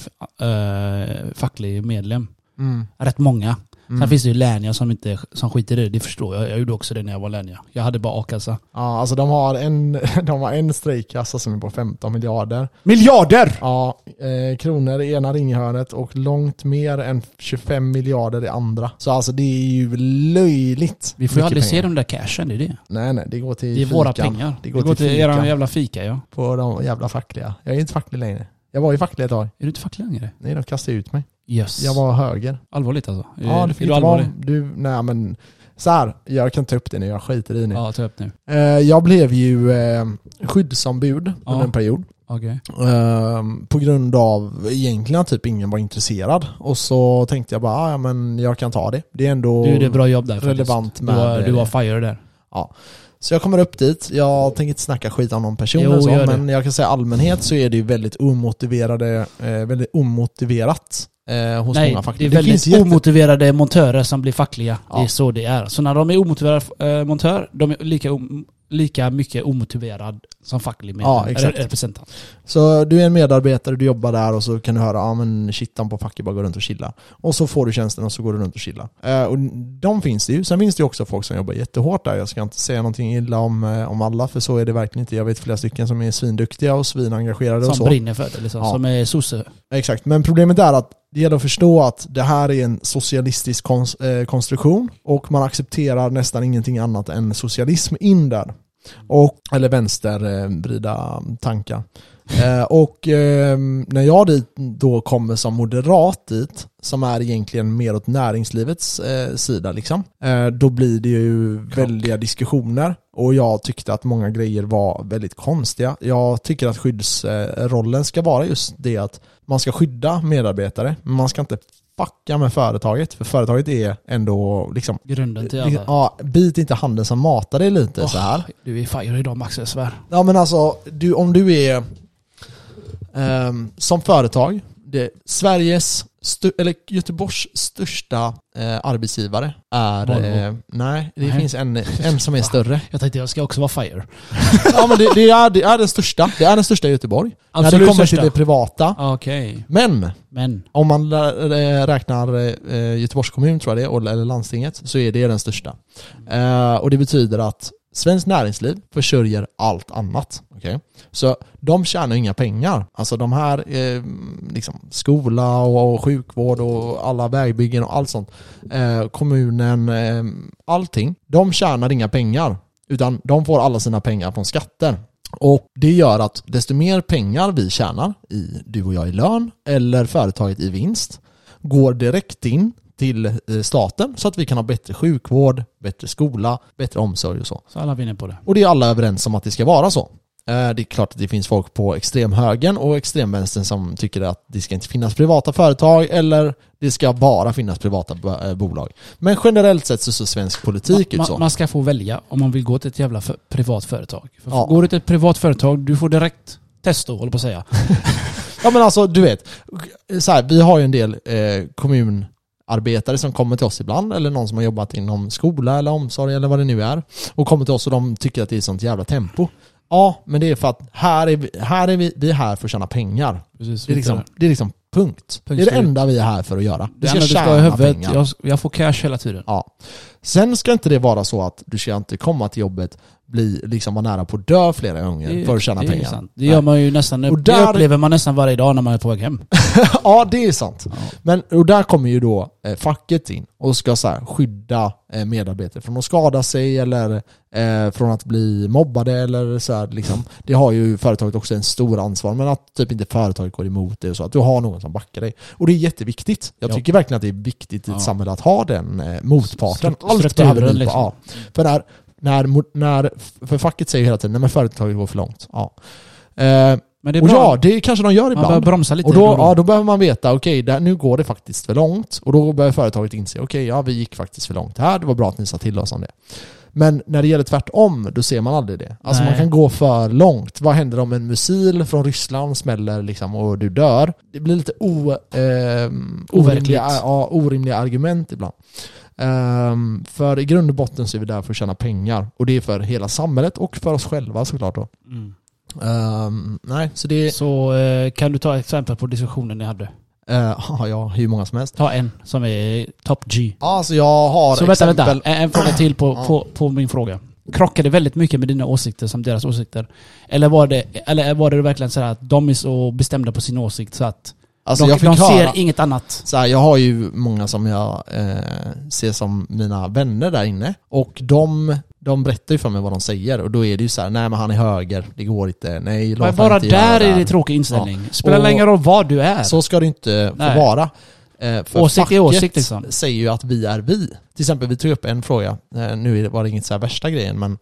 eh, facklig medlem.
Mm.
Rätt många. Sen
Mm.
finns det ju lärningar som, inte, som skiter i det, det förstår jag. Jag gjorde också det när jag var lärningar. Jag hade bara a-kassa.
Ja, alltså de har en, [laughs] de har en strejkkassa som är på 15 miljarder.
Miljarder!
Ja, eh, kronor i ena ringhörnet och långt mer än 25 miljarder i andra. Så alltså det är ju löjligt.
Vi får ju
mycket
aldrig se
pengar.
de där cashen, det är det.
Nej nej, det går till
Det är
fikan.
våra pengar.
Det går till,
till
fikan
er jävla fika ja.
på de jävla fackliga. Jag är inte facklig längre. Jag var ju facklig ett tag.
Är du inte facklig längre?
Nej, de kastade ut mig.
Yes.
Jag var höger.
Allvarligt alltså?
Ja, det
är
fick
du
inte vara...
allvarlig?
Du, nej men så här, jag kan ta upp det nu, jag skiter i nu.
Ja, ta upp nu.
Eh, jag blev ju eh, skyddsombud
Ja.
under en period.
Okej.
Eh, på grund av egentligen typ ingen var intresserad. Och så tänkte jag bara, ah, ja men jag kan ta det. Det är ändå...
Du gjorde ett bra jobb där
relevant
faktiskt.
med
Du var,
det.
du var fire där.
Så jag kommer upp dit, jag tänker inte snacka skit om någon person
Jo,
eller så,
gör det.
men jag kan säga i allmänhet så är det ju väldigt omotiverade, eh, väldigt omotiverat eh, hos
Nej,
många
det är
faktiskt.
väldigt
finns jätte-
omotiverade montörer som blir fackliga.
Ja.
Det är så det är. Så när de är omotiverade eh, montör, de är lika, om- lika mycket omotiverad som facklig medlem,
Ja, exakt.
eller representant.
Så du är en medarbetare, du jobbar där och så kan du höra ah, men shit, han på facket bara går runt och chillar. Och så får du tjänsten och så går du runt och chillar. Eh, och de finns det ju. Sen finns det ju också folk som jobbar jättehårt där. Jag ska inte säga någonting illa om, eh, om alla, för så är det verkligen inte. Jag vet flera stycken som är svinduktiga och svinengagerade och
Som
så.
brinner för det liksom,
Ja.
som är sosse.
Exakt, men problemet är att det gäller att förstå att det här är en socialistisk kons- eh, konstruktion och man accepterar nästan ingenting annat än socialism in där. Och, eller vänstervrida tankar. Eh, och eh, när jag dit då kommer som moderat dit, som är egentligen mer åt näringslivets eh, sida liksom, eh, då blir det ju väldiga diskussioner. Och jag tyckte att många grejer var väldigt konstiga. Jag tycker att skyddsrollen ska vara just det att man ska skydda medarbetare, men man ska inte fucka med företaget, för företaget är ändå liksom
Grunden till alla.
Ja, bit inte handen som matar dig lite så här.
Du är fire idag Max, jag svär.
Ja men alltså, du, om du är ehm, som företag, det, Sveriges, stu, eller Göteborgs största eh, arbetsgivare är...
Volvo.
Eh, nej, det
Nej.
finns en, en som är större.
Jag tänkte jag ska också vara fire.
ja men det, det, är, det är den största, det är den största i Göteborg. När det
Absolut
kommer
största.
till det privata.
Ah, Okej,
Men
men
om man lä- eh, räknar eh, Göteborgs kommun tror jag det är, och- eller landstinget, så är det den största. Eh, Och det betyder att Svenskt Näringsliv försörjer allt annat. okej? Så de tjänar inga pengar. Alltså de här, eh, liksom skola och, och sjukvård och alla vägbyggen och allt sånt. Eh, kommunen, eh, allting. De tjänar inga pengar. Utan de får alla sina pengar från skatter. Och det gör att desto mer pengar vi tjänar, i, du och jag i lön, eller företaget i vinst, går direkt in till eh, staten så att vi kan ha bättre sjukvård, bättre skola, bättre omsorg och så.
så alla vinner på det.
Och det är alla överens om att det ska vara så. Eh, Det är klart att det finns folk på extremhögern och extremvänstern som tycker att det ska inte finnas privata företag eller det ska bara finnas privata bo- eh, bolag. Men generellt sett så ser svensk politik
man,
ut så.
man ska få välja om man vill gå till ett jävla för, privat företag. För
Ja.
Går du till ett privat företag, du får direkt testo, håller på att säga.
Ja men alltså du vet, så här, vi har ju en del eh, kommunarbetare som kommer till oss ibland eller någon som har jobbat inom skola eller omsorg eller vad det nu är och kommer till oss och de tycker att det är sånt jävla tempo. Ja, men det är för att här är vi, här är vi, vi är här för att tjäna pengar.
Precis,
Det är liksom, det är liksom punkt.
Punkt
Det är det
slut.
enda vi är här för att göra. Vi
Det
ska
enda du ska ha i
tjäna
huvudet,
pengar.
jag, jag får cash hela tiden.
Ja. Sen ska inte det vara så att du ska inte komma till jobbet bli, liksom vara nära på att dö flera gånger för att tjäna
det är ju
pengar.
sant. Det gör man ju nästan,
Och
det
där-
upplever man nästan varje dag när man är på väg hem.
[laughs] ja, det är sant. Men, och där kommer ju då eh, facket in och ska så här, skydda eh, medarbetare från att skada sig eller eh, från att bli mobbade eller så här, liksom. Det har ju företaget också en stor ansvar, men att typ inte företaget går emot det och så. Att du har någon som backar dig. Och det är jätteviktigt. Jag
Ja.
tycker verkligen att det är viktigt i ett
Ja.
samhälle att ha den eh, motparten.
Stru-
Allt
strukturen
behöver vi på.
liksom.
Ja. För när, när, mo- när, för facket säger ju hela tiden, nej men företaget går för långt. Ja. Eh,
Men det är
och
bra.
ja, det kanske de gör
man
ibland.
behöver bromsa lite.
Och då,
och
ja, då behöver man veta, okej, där- nu går det faktiskt för långt. Och då börjar företaget inse, okej, ja, vi gick faktiskt för långt här. Det var bra att ni sa till oss om det. Men när det gäller tvärtom, då ser man aldrig det. Alltså
Nej.
man kan gå för långt. Vad händer om en missil från Ryssland smäller liksom och du dör? Det blir lite o, ehm,
Overkligt.
orimliga, ja, orimliga argument ibland. Ehm, för i grund och botten så är vi där för att tjäna pengar. Och det är för hela samhället och för oss själva såklart då.
Mm.
Ehm, nej, så det...
Så eh, kan du ta exempel på diskussionen ni hade?
Uh, [laughs] ja, hur många som helst.
Ta en som är top G.
Ja, Alltså jag har
Så vänta,
exempel.
vänta. En, en fråga till på,
Ja.
på, på min fråga. Krockade väldigt mycket med dina åsikter som deras åsikter? Eller var det, eller var det verkligen så här att de är så bestämda på sin åsikt så att
Alltså
de,
jag fick
de ser
höra,
inget annat?
så här, jag har ju många som jag eh, ser som mina vänner där inne och de, de berättar ju för mig vad de säger och då är det ju så här, nej men han är höger, det går inte, nej låt
Men
han
bara
inte göra
där
det
är
här.
det tråkig inställning.
Och-
Spelar ingen roll vad du är.
Så ska det inte få
Nej.
vara. Eh, för
Åsikt är
facket
åsikt, liksom.
säger ju att vi är vi. Till exempel, vi tog upp en fråga, eh, nu är det- var det inget så här värsta grejen, men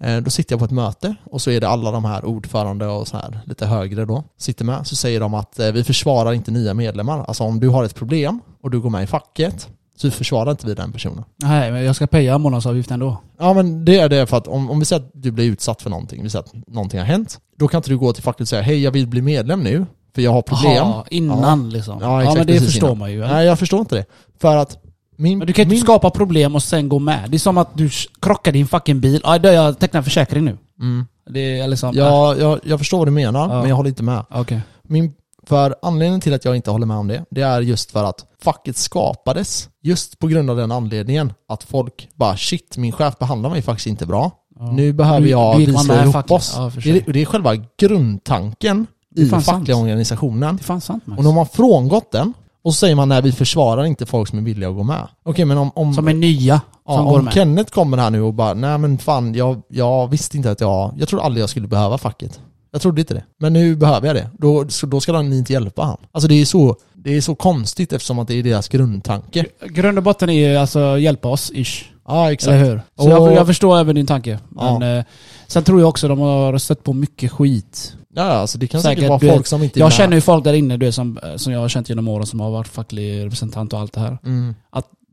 eh, då sitter jag på ett möte och så är det alla de här ordförande och så här lite högre då, sitter med. Så säger de att eh, vi försvarar inte nya medlemmar. Alltså om du har ett problem och du går med i facket, så försvarar inte vi den personen.
Nej, men jag ska paya månadsavgift ändå.
Ja men det är det för att om, om vi säger att du blir utsatt för någonting, vi säger att någonting har hänt, då kan inte du gå till facket och säga hej jag vill bli medlem nu, för jag har problem.
Aha, innan liksom.
Ja,
Ja,
exakt,
men det
precis
förstår
innan.
man ju.
Nej jag förstår inte det. För att min...
Men du kan ju inte
min,
skapa problem och sen gå med. Det är som att du krockar din fucking bil. Ja, då jag tecknar försäkring nu.
mm,
Det är liksom...
jag, jag, jag förstår vad du menar,
Ja.
men jag håller inte med.
Ah, Okej.
Min, för anledningen till att jag inte håller med om det, det är just för att facket skapades just på grund av den anledningen att folk bara shit, min chef behandlar mig faktiskt inte bra.
Ja.
Nu behöver jag
gick man
visa
med
ihop
facket.
oss.
Ja, för
det,
sig.
är, det är själva grundtanken
är
i
fan
fackliga
sant.
organisationen.
Det är fan sant Max.
Och nu har man frångått den och så säger man nej vi försvarar inte folk som är villiga att gå med. Okej men om, om,
Som är nya.
Ja,
som
om
går med.
Kenneth kommer här nu och bara, nej men fan, jag, jag visste inte att jag, jag trodde aldrig jag skulle behöva facket. Jag trodde inte det. Men nu behöver jag det. Då, så, då ska ni inte hjälpa han. Alltså det är så, det är så konstigt eftersom att det är deras grundtanke.
Grund och botten är ju alltså hjälpa oss, ish.
Ja
Eller
exakt.
hur? Så jag,
Och-
jag förstår även din tanke.
Ja.
Men, eh, sen tror jag också de har stött på mycket skit.
Ja, alltså det kan säkert,
Säkert,
vara
du
folk
vet,
som inte är
Jag
med.
känner ju folk där inne du vet, som, eh, som jag har känt genom åren som har varit facklig representant och allt det här.
Mm,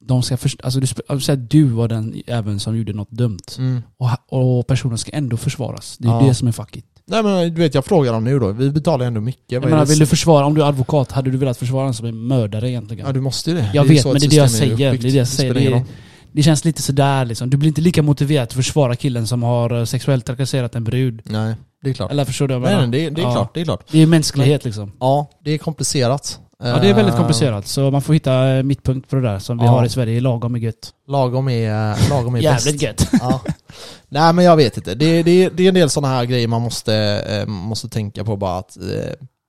De ska först, alltså du, sp- säg att du var den även som gjorde något dumt.
mm.
Och, ha- och personen ska ändå försvaras. Det är
Ja.
det som är facket.
Nej men du vet, jag frågar dem nu då. Vi betalar ändå mycket.
Jag
Vad är
menar,
det-
vill du försvara, om du är advokat, hade du velat försvara en som är mördare egentligen?
Ja du måste ju det.
Jag
är ju
vet,
så
men
ett
det är det jag
system
säger.
uppbyggt.
Det är det jag säger.
spelar ingen
Det är-
roll.
Det känns lite sådär liksom. Du blir inte lika motiverad att försvara killen som har eh, sexuellt trakasserat en brud.
Nej, det är klart.
Eller förstår du vad jag
Nej,
menar?
nej, det, det är
Ja.
klart, det är klart.
Det är ju mänsklighet liksom.
Ja, det är komplicerat.
Ja, det är väldigt
Eh,
komplicerat. Så man får hitta eh, mittpunkt på det där som vi
Ja.
har i Sverige. Lagom är gött.
Lagom är, eh, lagom är bäst.
Jävligt gött.
Ja. Nej men jag vet inte. Det, det, det är en del sådana här grejer man måste, eh, måste tänka på bara att eh,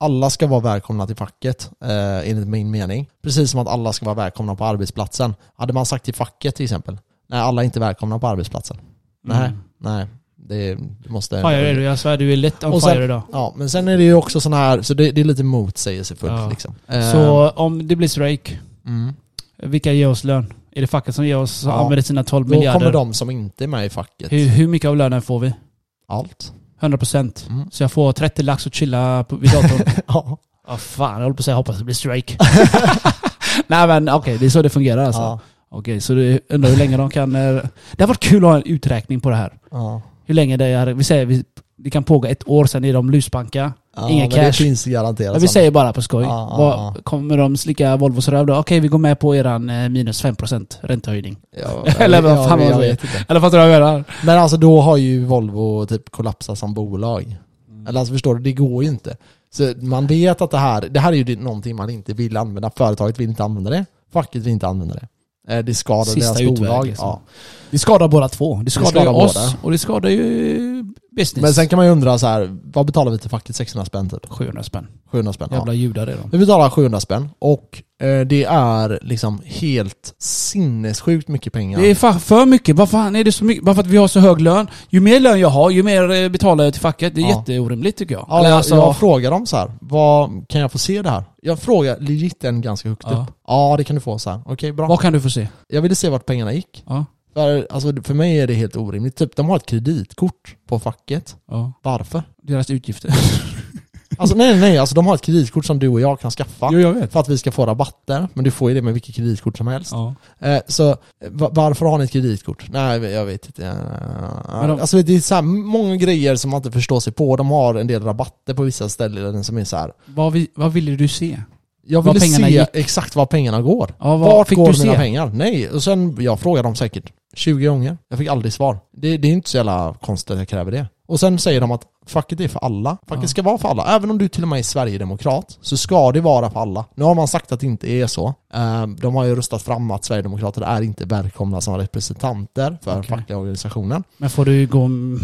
alla ska vara välkomna till facket eh, enligt min mening. Precis som att alla ska vara välkomna på arbetsplatsen. Hade man sagt till facket till exempel, nej alla är inte välkomna på arbetsplatsen. [laughs] Nej, nej. Det, det måste...
Fire är du. Mm. Jag svär, du är lätt on
Och sen-
fire idag.
Ja, men sen är det ju också sådana här, så det, det är lite motsägelsefullt
Ja.
liksom. Eh,
Så om det blir strejk,
mm.
vilka ger oss lön? Är det facket som ger oss, som
Ja.
använder sina 12
Då kommer
miljarder?
de som inte är med i facket.
Hur, hur mycket av lönen får vi?
Allt. [laughs]
100%.
Mm.
Så jag får 30 lax och chilla på, vid
[laughs]
datorn.
Ja.
Ja fan, jag håller på att säga hoppas det blir strejk. [laughs] Nej men okej, det är så det fungerar alltså.
Ja.
Okej, så det, undrar hur länge de kan... eh, Det har varit kul att ha en uträkning på det här.
Ja.
Hur länge det är, vi säger vi, det kan pågå ett år, sen är de luspanka.
Ja,
Ingen
men Det
cash.
finns garanterat.
Men vi
sådana.
säger bara på skoj.
Ja, ja,
Vad-
ja.
Kommer de slicka Volvos röv då? Okej, vi går med på eran eh, minus 5% räntehöjning.
Ja,
[laughs] Eller vad fan
jag,
man säger.
vet inte.
Eller fattar du vad jag menar?
Men alltså då har ju Volvo typ kollapsat som bolag. Eller alltså förstår du, det går ju inte. Så man vet att det här, det här är ju det- någonting man inte vill använda. Företaget vill inte använda det. Facket vill inte använda det. Eh, Det skadar
Sista
deras
utväg,
bolag.
liksom.
Ja.
Det skadar båda två. Det
Det skadar ju
skadar
oss
båda.
och det skadar ju business.
Men sen kan man ju undra så här, vad betalar vi till facket? 600 spänn typ?
700 spänn.
700 spänn? Ja.
Jävla judar är de.
Vi betalar 700 spänn och eh, det är liksom helt sinnessjukt mycket pengar.
Det är fa- för mycket. Vad fan är det så mycket? Bara för att vi har så hög lön. Ju mer lön jag har, ju mer eh, betalar jag till facket. Det är
Ja.
jätteorimligt tycker jag.
Ja,
Eller
jag,
alltså-
jag frågar dem så här, vad kan jag få se det här? Jag frågar legit en ganska högt
Ja.
upp. Ja, det kan du få så här. Okej, bra.
Vad kan du få se?
Jag ville se vart pengarna gick.
Ja.
För, alltså, för mig är det helt orimligt. Typ, de har ett kreditkort på facket.
ja.
Varför? [laughs]
Deras utgifter.
Alltså nej, nej, nej. Alltså, de har ett kreditkort som du och jag kan skaffa.
jag vet.
För att vi ska få rabatter. Men du får ju det med vilket kreditkort som helst.
Ja.
Eh, Så eh, va- varför har ni ett kreditkort? Nej, jag vet inte. Eh,
Men de-
Alltså det är så här många grejer som man inte förstår sig på. De har en del rabatter på vissa ställen som är så här.
Vad, vi, vad ville du se?
Jag
Var
ville se
pengarna gick.
exakt var pengarna går.
Ja, vad
Vart
fick
går
du
mina
se?
pengar? Nej, och sen jag frågade dem säkert 20 gånger. Jag fick aldrig svar. Det, det är inte så jävla konstigt att jag kräver det. Och sen säger de att facket är för alla. Facket
Ja.
ska vara för alla. Även om du till och med är Sverigedemokrat så ska det vara för alla. Nu har man sagt att det inte är så. Eh, De har ju röstat fram att Sverigedemokrater är inte välkomna som representanter för
Okej.
fackliga organisationen.
Men får du gå m-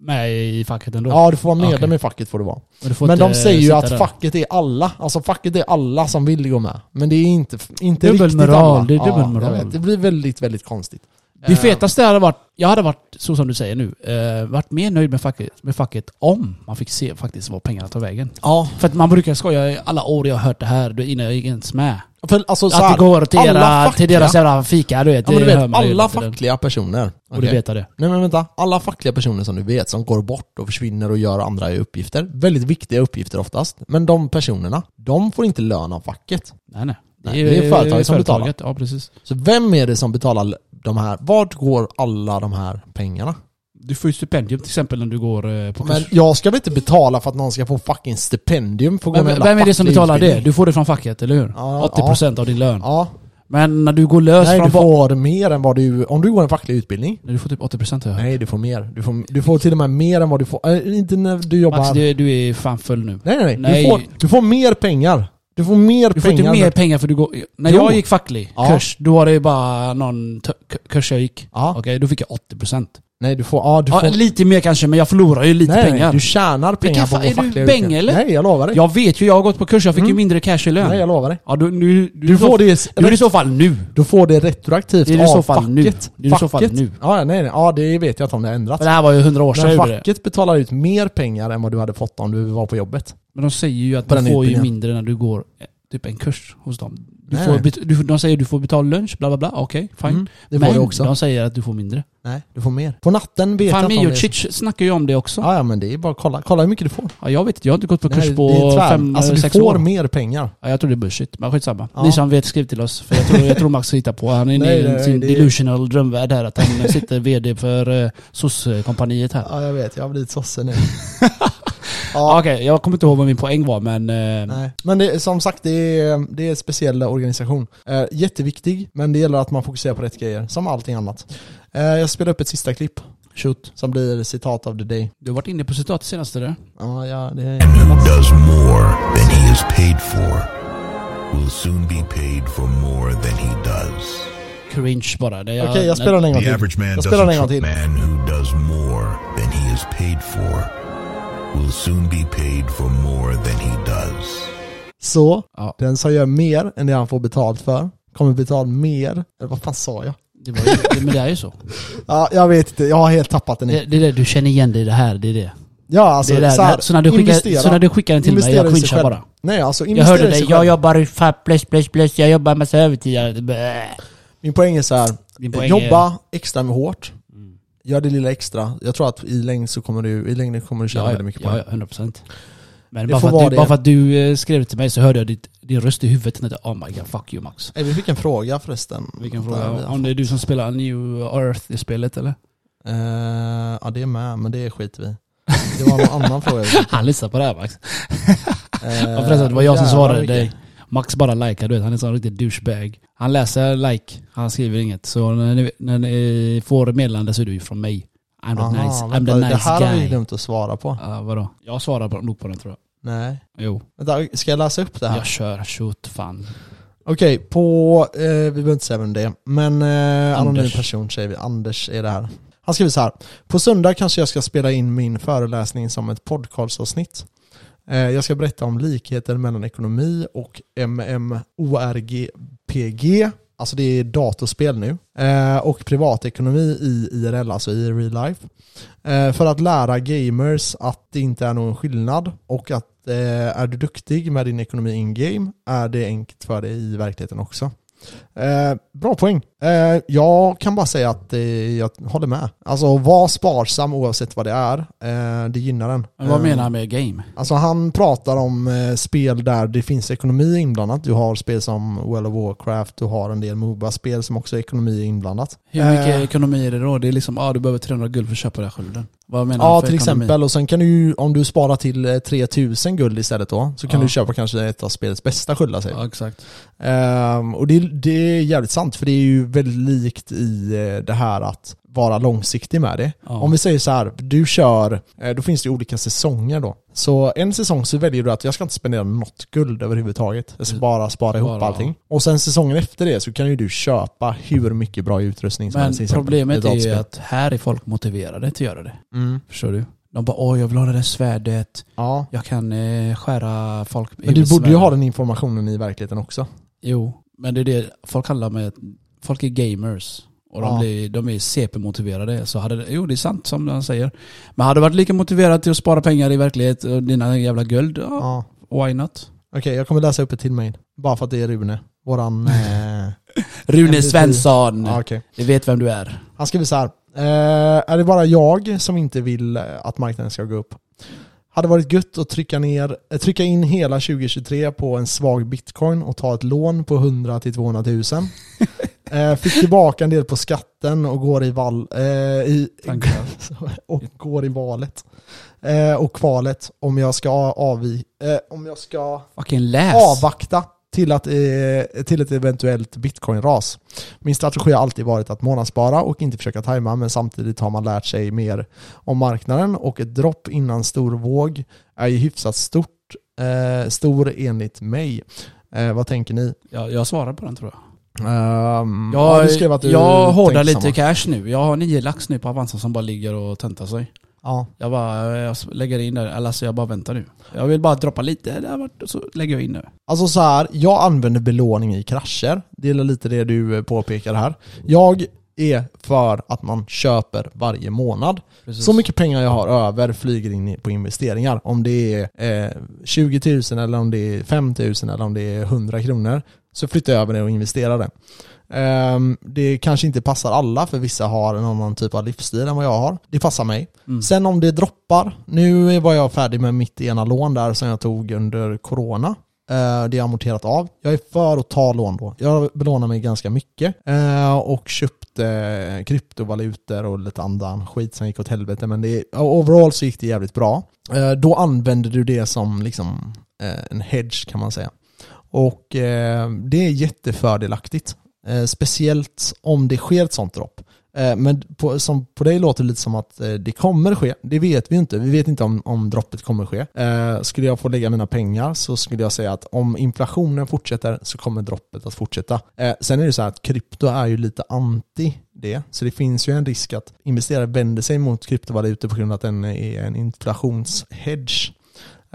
med i facket ändå?
Ja, du får vara medlem
Okej.
i facket får du vara.
Men, du får
Men
inte
de säger ju
sitta
att
där.
facket är alla. Alltså facket är alla som vill gå med. Men det är inte, inte
Dubbel
riktigt
moral,
alla.
det är dubbel
jag
moral.
vet. det blir väldigt, väldigt konstigt.
Det
Eh,
fetaste hade varit, jag hade varit så som du säger nu, eh, varit mer nöjd med facket, med facket om man fick se faktiskt var pengarna tar vägen.
Ja,
För att man brukar skoja i alla år jag har hört det här då innan jag gick ens med.
för alltså så
att
här,
det går till,
alla
era,
fackliga-
till deras jävla fika, du vet.
Ja men du
det hör
vet,
man ju
alla
hela tiden.
fackliga personer.
Borde
Okej.
veta det.
Nej men vänta, alla fackliga personer som du vet som går bort och försvinner och gör andra uppgifter, väldigt viktiga uppgifter oftast, men de personerna, de får inte lön av facket.
Nej, nej.
Nej, det är
ju-
företaget som
företaget, Ja, precis.
Så vem är det som betalar l- de här, vart går alla de här pengarna?
Du får ju stipendium till exempel när du går eh, på
Men
kurs.
jag ska väl inte betala för att någon ska få fucking stipendium för att gå
Men,
en
vem,
jävla
vem är det som
facklig
betalar det?
utbildning?
Du får det från facket, eller hur?
Ja,
80% av din lön.
Ja,
Men när du går lös
nej
från
du
ba-
får mer än vad du, om du går en facklig utbildning,
Du får typ 80% har jag hört.
nej du får mer. Du får, du får till och med mer än vad du får, äh, inte när du jobbar...
Max, du, du är fan full nu.
Nej, nej, nej.
Nej.
Du, får, du får mer pengar. Du får mer
Du får
pengar.
inte mer pengar för du går... När
Jo.
jag gick facklig
Ja.
kurs, då var det bara någon t- k- kurs jag gick.
Ja.
Okej, då fick jag 80%.
Nej, du får... Ja, du
Ja,
får...
lite mer kanske, men jag förlorar ju lite
nej,
pengar.
nej, du tjänar pengar
fan-
på
är
vår
du
fackliga
bäng,
yrken.
eller?
Nej, jag lovar dig.
Jag vet ju, jag har gått på kurs, jag fick ju mindre cash i lön.
Mm. nej, jag lovar dig.
Ja, du, nu, du,
Du
så-
får det,
Du är i så fall nu.
du får det retroaktivt
Det är i
av
så fall
facket.
nu. Det är i så fall
Facket.
nu.
Ja, nej, nej. Ja, det vet jag inte om det har ändrats.
Men det här var ju hundra år sedan.
Men
jag gjorde det.
facket betalar ut mer pengar än vad du hade fått om du var på jobbet.
Men de säger ju att
På
du
den
får ju
utbildningen.
mindre när du går eh, typ en kurs hos dem. Du
Nej,
får
nej.
bet- du, de säger du får betala lunch, bla bla bla. Okej, fine.
Mm, det får
men
du också.
de säger att du får mindre.
Nej, du får mer. På natten vet
Fan,
jag inte om det är...
Mijocic snackar ju om det också.
Ja, ja, men det är bara att kolla. Kolla hur mycket du får.
Ja, jag vet inte, jag har inte gått på kurs
Nej, det
på
är tvär.
fem,
Alltså
eller
du
sex
får
år.
mer pengar.
Ja, jag tror det är bullshit, men skitsamma.
Ja.
Ni som vet, skriv till oss. För jag tror, jag tror Max hittar på. Han är inne
Nej,
i
nej,
sin
det är-
delusional drömvärld här. Att han sitter VD för uh, SOS-kompaniet här.
Ja, jag vet. Jag har blivit sosse [laughs] nu.
Ja, Okej, jag kommer inte ihåg vad min poäng var, men... eh,
Nej. Men det, som sagt, det är, det är en speciell organisation. Eh, jätteviktig, men det gäller att man fokuserar på rätt grejer, som allting annat. Eh, jag spelar upp ett sista klipp,
shoot.
som blir citat av the day.
Du har varit inne på citat senast eller?
Ja, ja, det
does more than he is paid for will soon be paid for more than he does.
Cringe bara. Det är-
Okej, jag spelar den en gång
The
till.
average man
Jag
doesn't
spelar den en gång
trust
till.
man who does more than he is paid for will soon be paid for more than he does.
Så,
Ja.
den som gör mer än det han får betalt för, kommer betala mer. Eller vad fan sa jag?
Det var ju, det, men det är
[laughs]
ju så.
Ja, jag vet inte, jag har helt tappat den.
Det,
i.
det är det, du känner igen dig i det här, det är det.
Ja, alltså,
det är det.
så,
Så,
här,
så, när du skickar,
investera.
så när du skickar den till mig,
Investera i
jag
sig
cringear
själv.
bara.
Nej, alltså
Jag
investera
hörde
i sig
dig,
själv.
jag jobbar fan plus, plus, plus, jag jobbar massa övertid. Bäh.
Min poäng är så här,
Din poäng är- Mm.
jobba extra med hårt. Gör det lilla extra. Jag tror att i längden så kommer du, i längden kommer du tjäna
Ja,
väldigt mycket
ja,
på
ja,
det.
100 procent. Men
Det
bara
får
för,
vara
att
det.
du, bara för att du eh, skrev det till mig så hörde jag ditt, din röst i huvudet. Och tänkte, oh my god, fuck you Max.
Eh, Vi fick en fråga förresten.
Vilken
Där vi
fråga.
har
Om det är du som spelar New Earth i spelet eller?
Eh, ja det är med, men det skiter vi i. Det var någon
[laughs]
annan fråga. vi fick.
Han lyssnar på det här Max.
Eh,
Ja, förresten, det var jag som
jävlar
svarade
vilken-
dig. Max bara likar, du vet. Han är en sån riktig douchebag. Han läser like, han skriver inget. Så när ni, när ni får meddelande så är det ju från mig. I'm
Aha,
not nice, I'm
vänta,
the
det
nice
här har vi
guy.
glömt att svara på.
Ja, vadå? Jag svarar på- nog på den tror jag.
Nej.
Jo,
Vänta, ska jag läsa upp det här?
jag kör shoot fan.
Okej, på, eh, vi behöver inte säga vem det är, men eh, anonym
Anders.
person säger vi, Anders är det här. Han skriver så här, på söndag kanske jag ska spela in min föreläsning som ett podcastavsnitt. Eh, jag ska berätta om likheter mellan ekonomi och MMORGPG, alltså det är datorspel nu, eh, och privatekonomi i IRL, alltså i real life. Eh, för att lära gamers att det inte är någon skillnad och att eh, är du duktig med din ekonomi in-game är det enkelt för dig i verkligheten också. Eh, bra poäng. Eh, jag kan bara säga att eh, jag håller med. Alltså var sparsam oavsett vad det är. Eh, det gynnar en.
Men vad
Eh,
menar han med game?
Alltså han pratar om eh, spel där det finns ekonomi inblandat. Du har spel som World of Warcraft, du har en del Moba-spel som också är ekonomi inblandat. Eh,
Hur mycket ekonomi är det då? Det är liksom, ja ah, du behöver 300 guld för att köpa den här skölden. Vad menar
Ja
han
till
för ekonomi?
exempel, och sen kan du ju, om du sparar till eh, 3000 guld istället då, så kan
Ja.
du köpa kanske ett av spelets bästa sköldar säger vi.
Ja exakt.
Ehm, och det, det är jävligt sant, för det är ju väldigt likt i eh, det här att vara långsiktig med det.
Ja.
Om vi säger så här, du kör, eh, då finns det ju olika säsonger då. Så en säsong så väljer du att jag ska inte spendera något guld överhuvudtaget. Jag ska bara spara ihop
Mm. Bara, ja.
allting. Och sen säsongen efter det så kan ju du köpa hur mycket bra utrustning som
Men
helst. till exempel, i
problemet
ett
är ju
dataspel.
att här är folk motiverade till att göra det.
Mm.
Förstår du? De bara åh jag vill ha det där svärdet,
Ja.
jag kan eh, skära folk
Men du borde ju ha den informationen i verkligheten också.
Jo, men det är det folk kallar med, folk är gamers. Och de,
Ja.
blir, de är CP-motiverade. Så hade, det- jo, det är sant som han säger. Men hade du varit lika motiverad till att spara pengar i verklighet och dina jävla guld, ja,
Ja.
why not?
Okej, jag kommer läsa upp ett till mejl. Bara för att det är Rune.
[laughs]
Våran... Eh...
Rune
MVP.
Svensson!
ja, okej.
Du vet vem du är.
Han skriver så här. Eh, är det bara jag som inte vill eh, att marknaden ska gå upp? Hade varit gött att trycka, ner, eh, trycka in hela 2023 på en svag bitcoin och ta ett lån på 100 till 200 000. Eh, fick tillbaka en del på skatten och går i, val, eh, i, [laughs]
Tankar.
och går i valet. Eh, och kvalet om jag ska, avvi, eh, om jag ska
Fucking läs!
avvakta till, att, eh, till ett eventuellt bitcoin-ras. Min strategi har alltid varit att månadsspara och inte försöka tajma, men samtidigt har man lärt sig mer om marknaden och ett dropp innan stor våg är ju hyfsat stort, eh, stor enligt mig. Eh, vad tänker ni?
jag, jag svarar på den tror jag.
Ehm, ja,
Jag,
du skrev att du
jag
tänkte
hårdar lite
samma.
cash nu. Jag har nio lax nu på Avanza som bara ligger och tentar sig.
Ja.
Jag bara jag lägger in där, eller alltså jag bara väntar nu. Jag vill bara droppa lite, där vart- så lägger jag in nu.
Alltså så här, jag använder belåning i krascher. Det är lite det du eh, påpekar här. Jag är för att man köper varje månad.
Precis.
Så mycket pengar jag har över flyger in i- på investeringar. Om det är eh, 20 000 eller om det är 5 000 eller om det är 100 kronor så flyttar jag över det och investerar det. Ehm, det kanske inte passar alla för vissa har en annan typ av livsstil än vad jag har. Det passar mig. Sen om det droppar, nu var jag färdig med mitt ena lån där som jag tog under corona. Eh, Det är amorterat av. Jag är för att ta lån då. Jag belånar mig ganska mycket eh, och köpte eh, kryptovalutor och lite annan skit som gick åt helvete. Men det, overall så gick det jävligt bra. Eh, Då använder du det som liksom eh, en hedge kan man säga. Och eh, det är jättefördelaktigt. Eh, Speciellt om det sker ett sånt dropp. Eh, Men på, som, på dig låter det lite som att eh, det kommer ske. Det vet vi ju inte. Vi vet inte om, om droppet kommer ske. Eh, Skulle jag få lägga mina pengar så skulle jag säga att om inflationen fortsätter så kommer droppet att fortsätta. Eh, Sen är det så här att krypto är ju lite anti det. Så det finns ju en risk att investerare vänder sig mot kryptovalutor på grund av att den är en inflationshedge.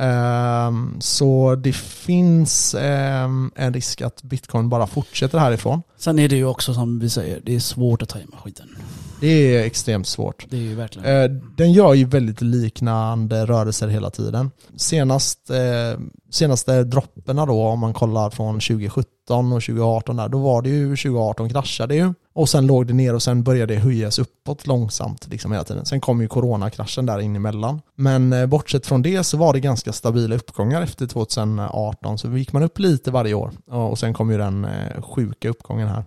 Ehm, Så det finns ehm, en risk att bitcoin bara fortsätter härifrån.
Sen är det ju också som vi säger, det är svårt att tajma skiten.
Det är extremt svårt.
Det är ju verkligen.
Eh, Den gör ju väldigt liknande rörelser hela tiden. Senast, eh, senaste dropperna då, om man kollar från 2017 och 2018 där, då var det ju 2018 kraschade ju. Och sen låg det ner och sen började det höjas uppåt långsamt liksom hela tiden. Sen kom ju coronakraschen där in emellan. Men eh, bortsett från det så var det ganska stabila uppgångar efter 2018. Så gick man upp lite varje år. Ja, Och sen kom ju den eh, sjuka uppgången här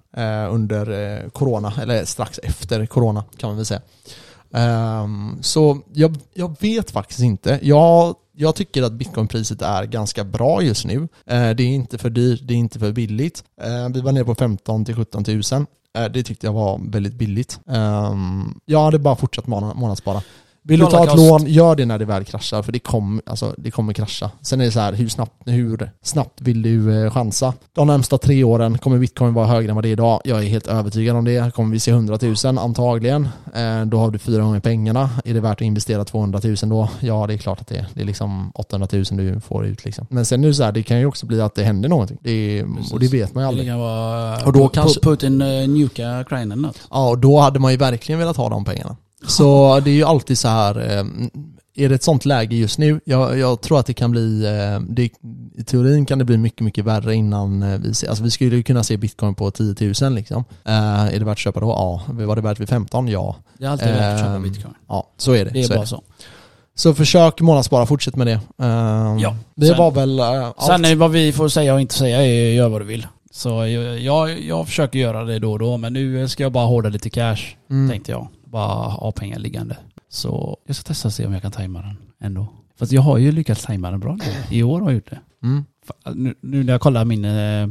eh, under eh, corona, eller strax efter corona kan man väl säga. Ehm, så jag, jag vet faktiskt inte. Jag, jag tycker att bitcoinpriset är ganska bra just nu. Eh, det är inte för dyrt, det är inte för billigt. Eh, vi var nere på 15 till 17 000. Eh, det tyckte jag var väldigt billigt. Ehm, jag hade bara fortsatt måna- månadsspara. Vill du ta ett
Dollarkast.
lån, gör det när det väl kraschar. För det, kom, alltså, det kommer krascha. Sen är det så här, hur snabbt, hur snabbt vill du eh, chansa? De närmsta tre åren kommer bitcoin vara högre än vad det är idag. Jag är helt övertygad om det. Kommer vi se 100 000 antagligen. Eh, då har du fyra gånger pengarna. Är det värt att investera 200 000 då? Ja, det är klart att det är. Det är liksom 800 000 du får ut liksom. Men sen nu så här, det kan ju också bli att det händer någonting. Det är, och det vet man ju
Det
aldrig.
kan vara
Och
och
då
då
kanske-
Putin uh, nuka Ukraina eller något.
Ja, och då hade man ju verkligen velat ha de
[laughs]
pengarna. Så det är ju alltid så här, eh, är det ett sånt läge just nu? Jag, jag tror att det kan bli, eh, det, i teorin kan det bli mycket, mycket värre innan eh, vi ser, alltså vi skulle ju kunna se bitcoin på 10 000 liksom. Eh, är det värt att köpa då? Ja. Var det värt vid 15? Ja.
Det är alltid värt att köpa
Ehm,
bitcoin.
Ja, så är det.
Det är
så,
bara
det.
så.
så försök månadsspara, fortsätt med det. Eh,
Ja.
Det
Sen-
var väl eh, allt.
Sen är vad vi får säga och inte säga är gör vad du vill. Så jag, jag, jag försöker göra det då och då men nu ska jag bara hårda lite cash
Mm.
tänkte jag. Bara ha pengar liggande. Så jag ska testa och se om jag kan tajma den ändå. Fast jag har ju lyckats tajma den bra nu. I år har jag gjort det.
Mm.
Fa- Nu, nu när jag kollar min eh,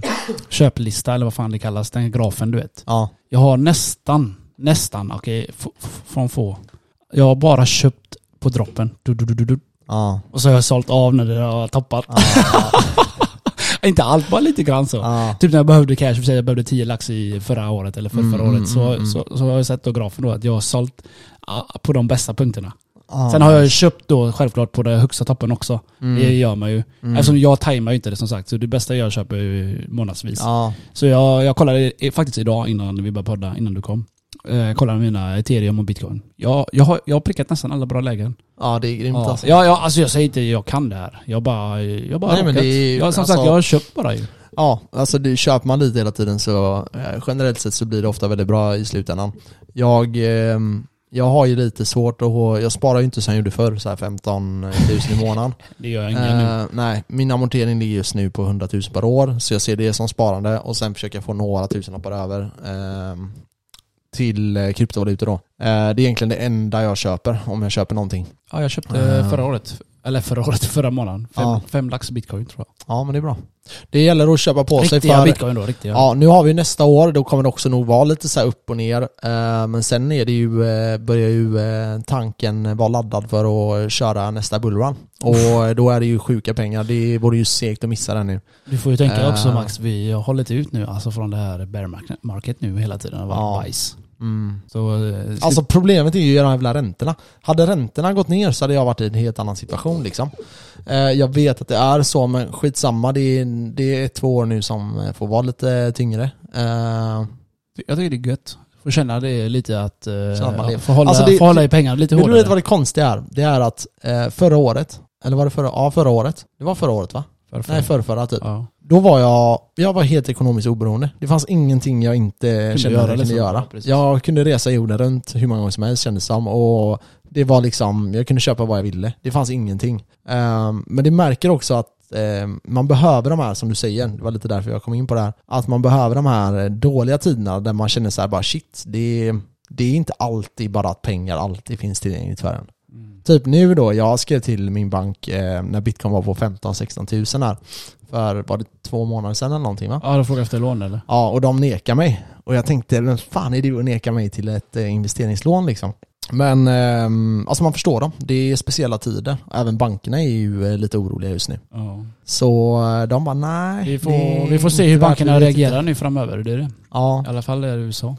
köplista eller vad fan det kallas, den grafen du vet.
Ja.
Jag har nästan, nästan, okej, f- f- från få. Jag har bara köpt på droppen. Du, du, du, du, du.
Ja.
Och så har jag sålt av när det har toppat. [laughs] Inte allt, bara lite grann så.
Ja.
Typ när jag behövde cash, för att säga, jag behövde 10 lax i förra året eller för förra
Mm,
året. Så,
mm, mm.
så, så har jag sett då grafen då att jag har sålt ah, på de bästa punkterna.
Ja.
Sen har jag ju köpt då självklart på den högsta toppen också.
Mm.
Det gör man ju.
Mm.
Eftersom jag tajmar ju inte det som sagt. Så det bästa jag köper är ju månadsvis.
Ja.
Så jag, jag kollade i- faktiskt idag innan vi började podda, innan du kom. Eh, jag kollade mina ethereum och bitcoin. Jag, jag, har, jag har prickat nästan alla bra lägen.
ja, det är grymt
Ja,
alltså.
ja, ja, alltså jag säger inte jag kan det här. Jag bara, jag bara
Nej, men
råkat.
det är ju-
jag, som
alltså-
sagt, jag har köpt bara ju.
Ja, alltså det, köper man lite hela tiden så eh, generellt sett så blir det ofta väldigt bra i slutändan. Jag, eh, jag har ju lite svårt att, jag sparar ju inte som jag gjorde förr, så här 15 000 i månaden.
Det gör jag ingen nu.
Eh, nej, min amortering ligger just nu på 100 000 per år, så jag ser det som sparande och sen försöker jag få några tusenlappar över eh, till eh, kryptovalutor då. Eh, det är egentligen det enda jag köper, om jag köper någonting.
Ja, jag köpte
Eh.
förra året. Eller förra året, [laughs] förra månaden. Fem,
Ja.
fem lax bitcoin tror jag.
Ja, men det är bra. Det gäller att köpa på sig
Riktiga
för... Ah.
bitcoin då, riktiga.
Ja, nu har vi nästa år, då kommer det också nog vara lite så här upp och ner. Eh, Men sen är det ju, eh, börjar ju eh, tanken vara laddad för att köra nästa bullrun. Och då är det ju sjuka pengar, det vore ju segt att missa den nu.
Du får ju tänka
Eh.
också Max, vi har hållit ut nu alltså från det här bear market- market nu hela tiden. Det har varit
Ja.
bajs.
Mm.
Så, eh, slut-
Ah. Alltså problemet är ju de här jävla räntorna. Hade räntorna gått ner så hade jag varit i en helt annan situation liksom. Eh, Jag vet att det är så men skitsamma, det är, det är två år nu som eh, får vara lite tyngre. Eh,
jag tycker det är gött. Får känna det lite att, eh,
Så att man lever.
få hålla,
Alltså det-
få hålla i pengarna lite
Vill du
hårdare.
veta vad det konstiga är? Det är att eh, förra året, eller var det förra? Ja, förra året. Det var förra året va?
Varför?
Nej, förrförra typ.
Ja.
Då var jag, jag var helt ekonomiskt oberoende. Det fanns ingenting jag inte kände att
göra
jag kunde
liksom.
göra.
Ja, precis.
jag kunde resa jorden runt hur många gånger som helst kändes som. Och det var liksom, jag kunde köpa vad jag ville. Det fanns ingenting. Ehm, men det märker också att ehm, man behöver de här, som du säger, det var lite därför jag kom in på det här, att man behöver de här dåliga tiderna där man känner så här bara shit, det är, det är inte alltid bara att pengar alltid finns tillgängligt för en.
Mm.
Typ nu då, jag skrev till min bank eh, när bitcoin var på 15-16 000 här. För var det två månader sedan eller någonting va?
ja, de frågar efter lån eller?
Ja, och de nekar mig. Och jag tänkte, vem fan är du att neka mig till ett eh, investeringslån liksom? Men ehm, alltså man förstår dem. Det är speciella tider. Även bankerna är ju eh, lite oroliga just nu.
Ja.
Så eh, de bara nej.
Vi,
det
får,
är
vi får se
inte
hur
värt det,
bankerna
vi vet
reagerar
inte.
nu framöver. Det är det.
Ja,
I alla fall är det USA.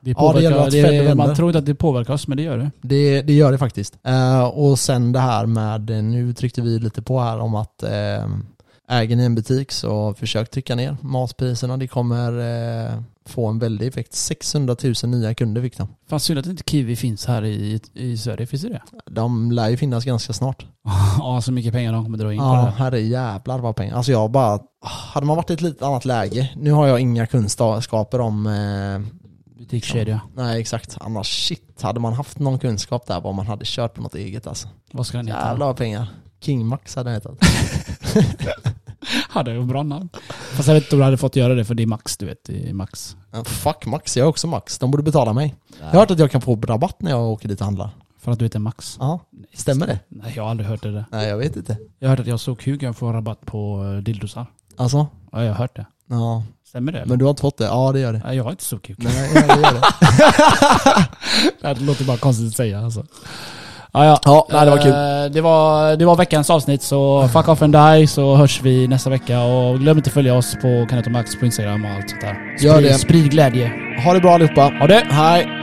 Det
Ja, det gäller
påverkar,
att Fed
det,
vänder.
man tror inte att det påverkar oss, men det gör det.
det, det gör det faktiskt. Eh, och sen det här med, eh, nu tryckte vi lite på här om att ehm, äger ni en butik så försök trycka ner matpriserna. Det kommer eh, få en väldig effekt. 600 000 nya kunder fick de.
Fan synd att inte kiwi finns här i, i Sverige. Finns
[laughs]
det det?
De lär ju finnas ganska snart.
Ja, så mycket pengar de kommer dra in på det
Ja,
här.
herre jävlar vad pengar. Alltså jag bara, hade man varit i ett lite annat läge, nu har jag inga kunskaper om, eh,
Butikskedja.
nej exakt, annars shit, hade man haft någon kunskap där vad man hade kört på något eget alltså.
Vad ska den heta?
Jävlar vad pengar. King Max hade jag hetat.
Ja, det är ett bra namn. Fast jag vet inte om du hade fått göra det för det är Max, du vet. Det är Max.
Eh, Fuck Max, jag är också Max. De borde betala mig. Jag har hört att jag kan få rabatt när jag åker dit och handlar.
För att du heter Max.
Ja, stämmer det?
Nej, jag har aldrig hört det där.
Nej jag vet inte.
Jag hörde att jag såg Hugo få rabatt på eh, dildosar.
Alltså,
Ja, jag har hört det.
ja.
Stämmer det?
Men du har inte fått det? Ja det gör det.
Nej, jag har inte [laughs] såg Hugo.
Nej, ja, det gör det.
Det låter bara konstigt att säga alltså. Ja, Ja, ja.
[laughs] Ja, nej, det var kul.
Eh, Det var, det var veckans avsnitt, så fuck off and die så hörs vi nästa vecka. Och glöm inte att följa oss på Kenneth och Max på Instagram och allt sånt där.
Gör det.
Sprid glädje.
Eh, Ha det bra allihopa.
Ha det!
Hej.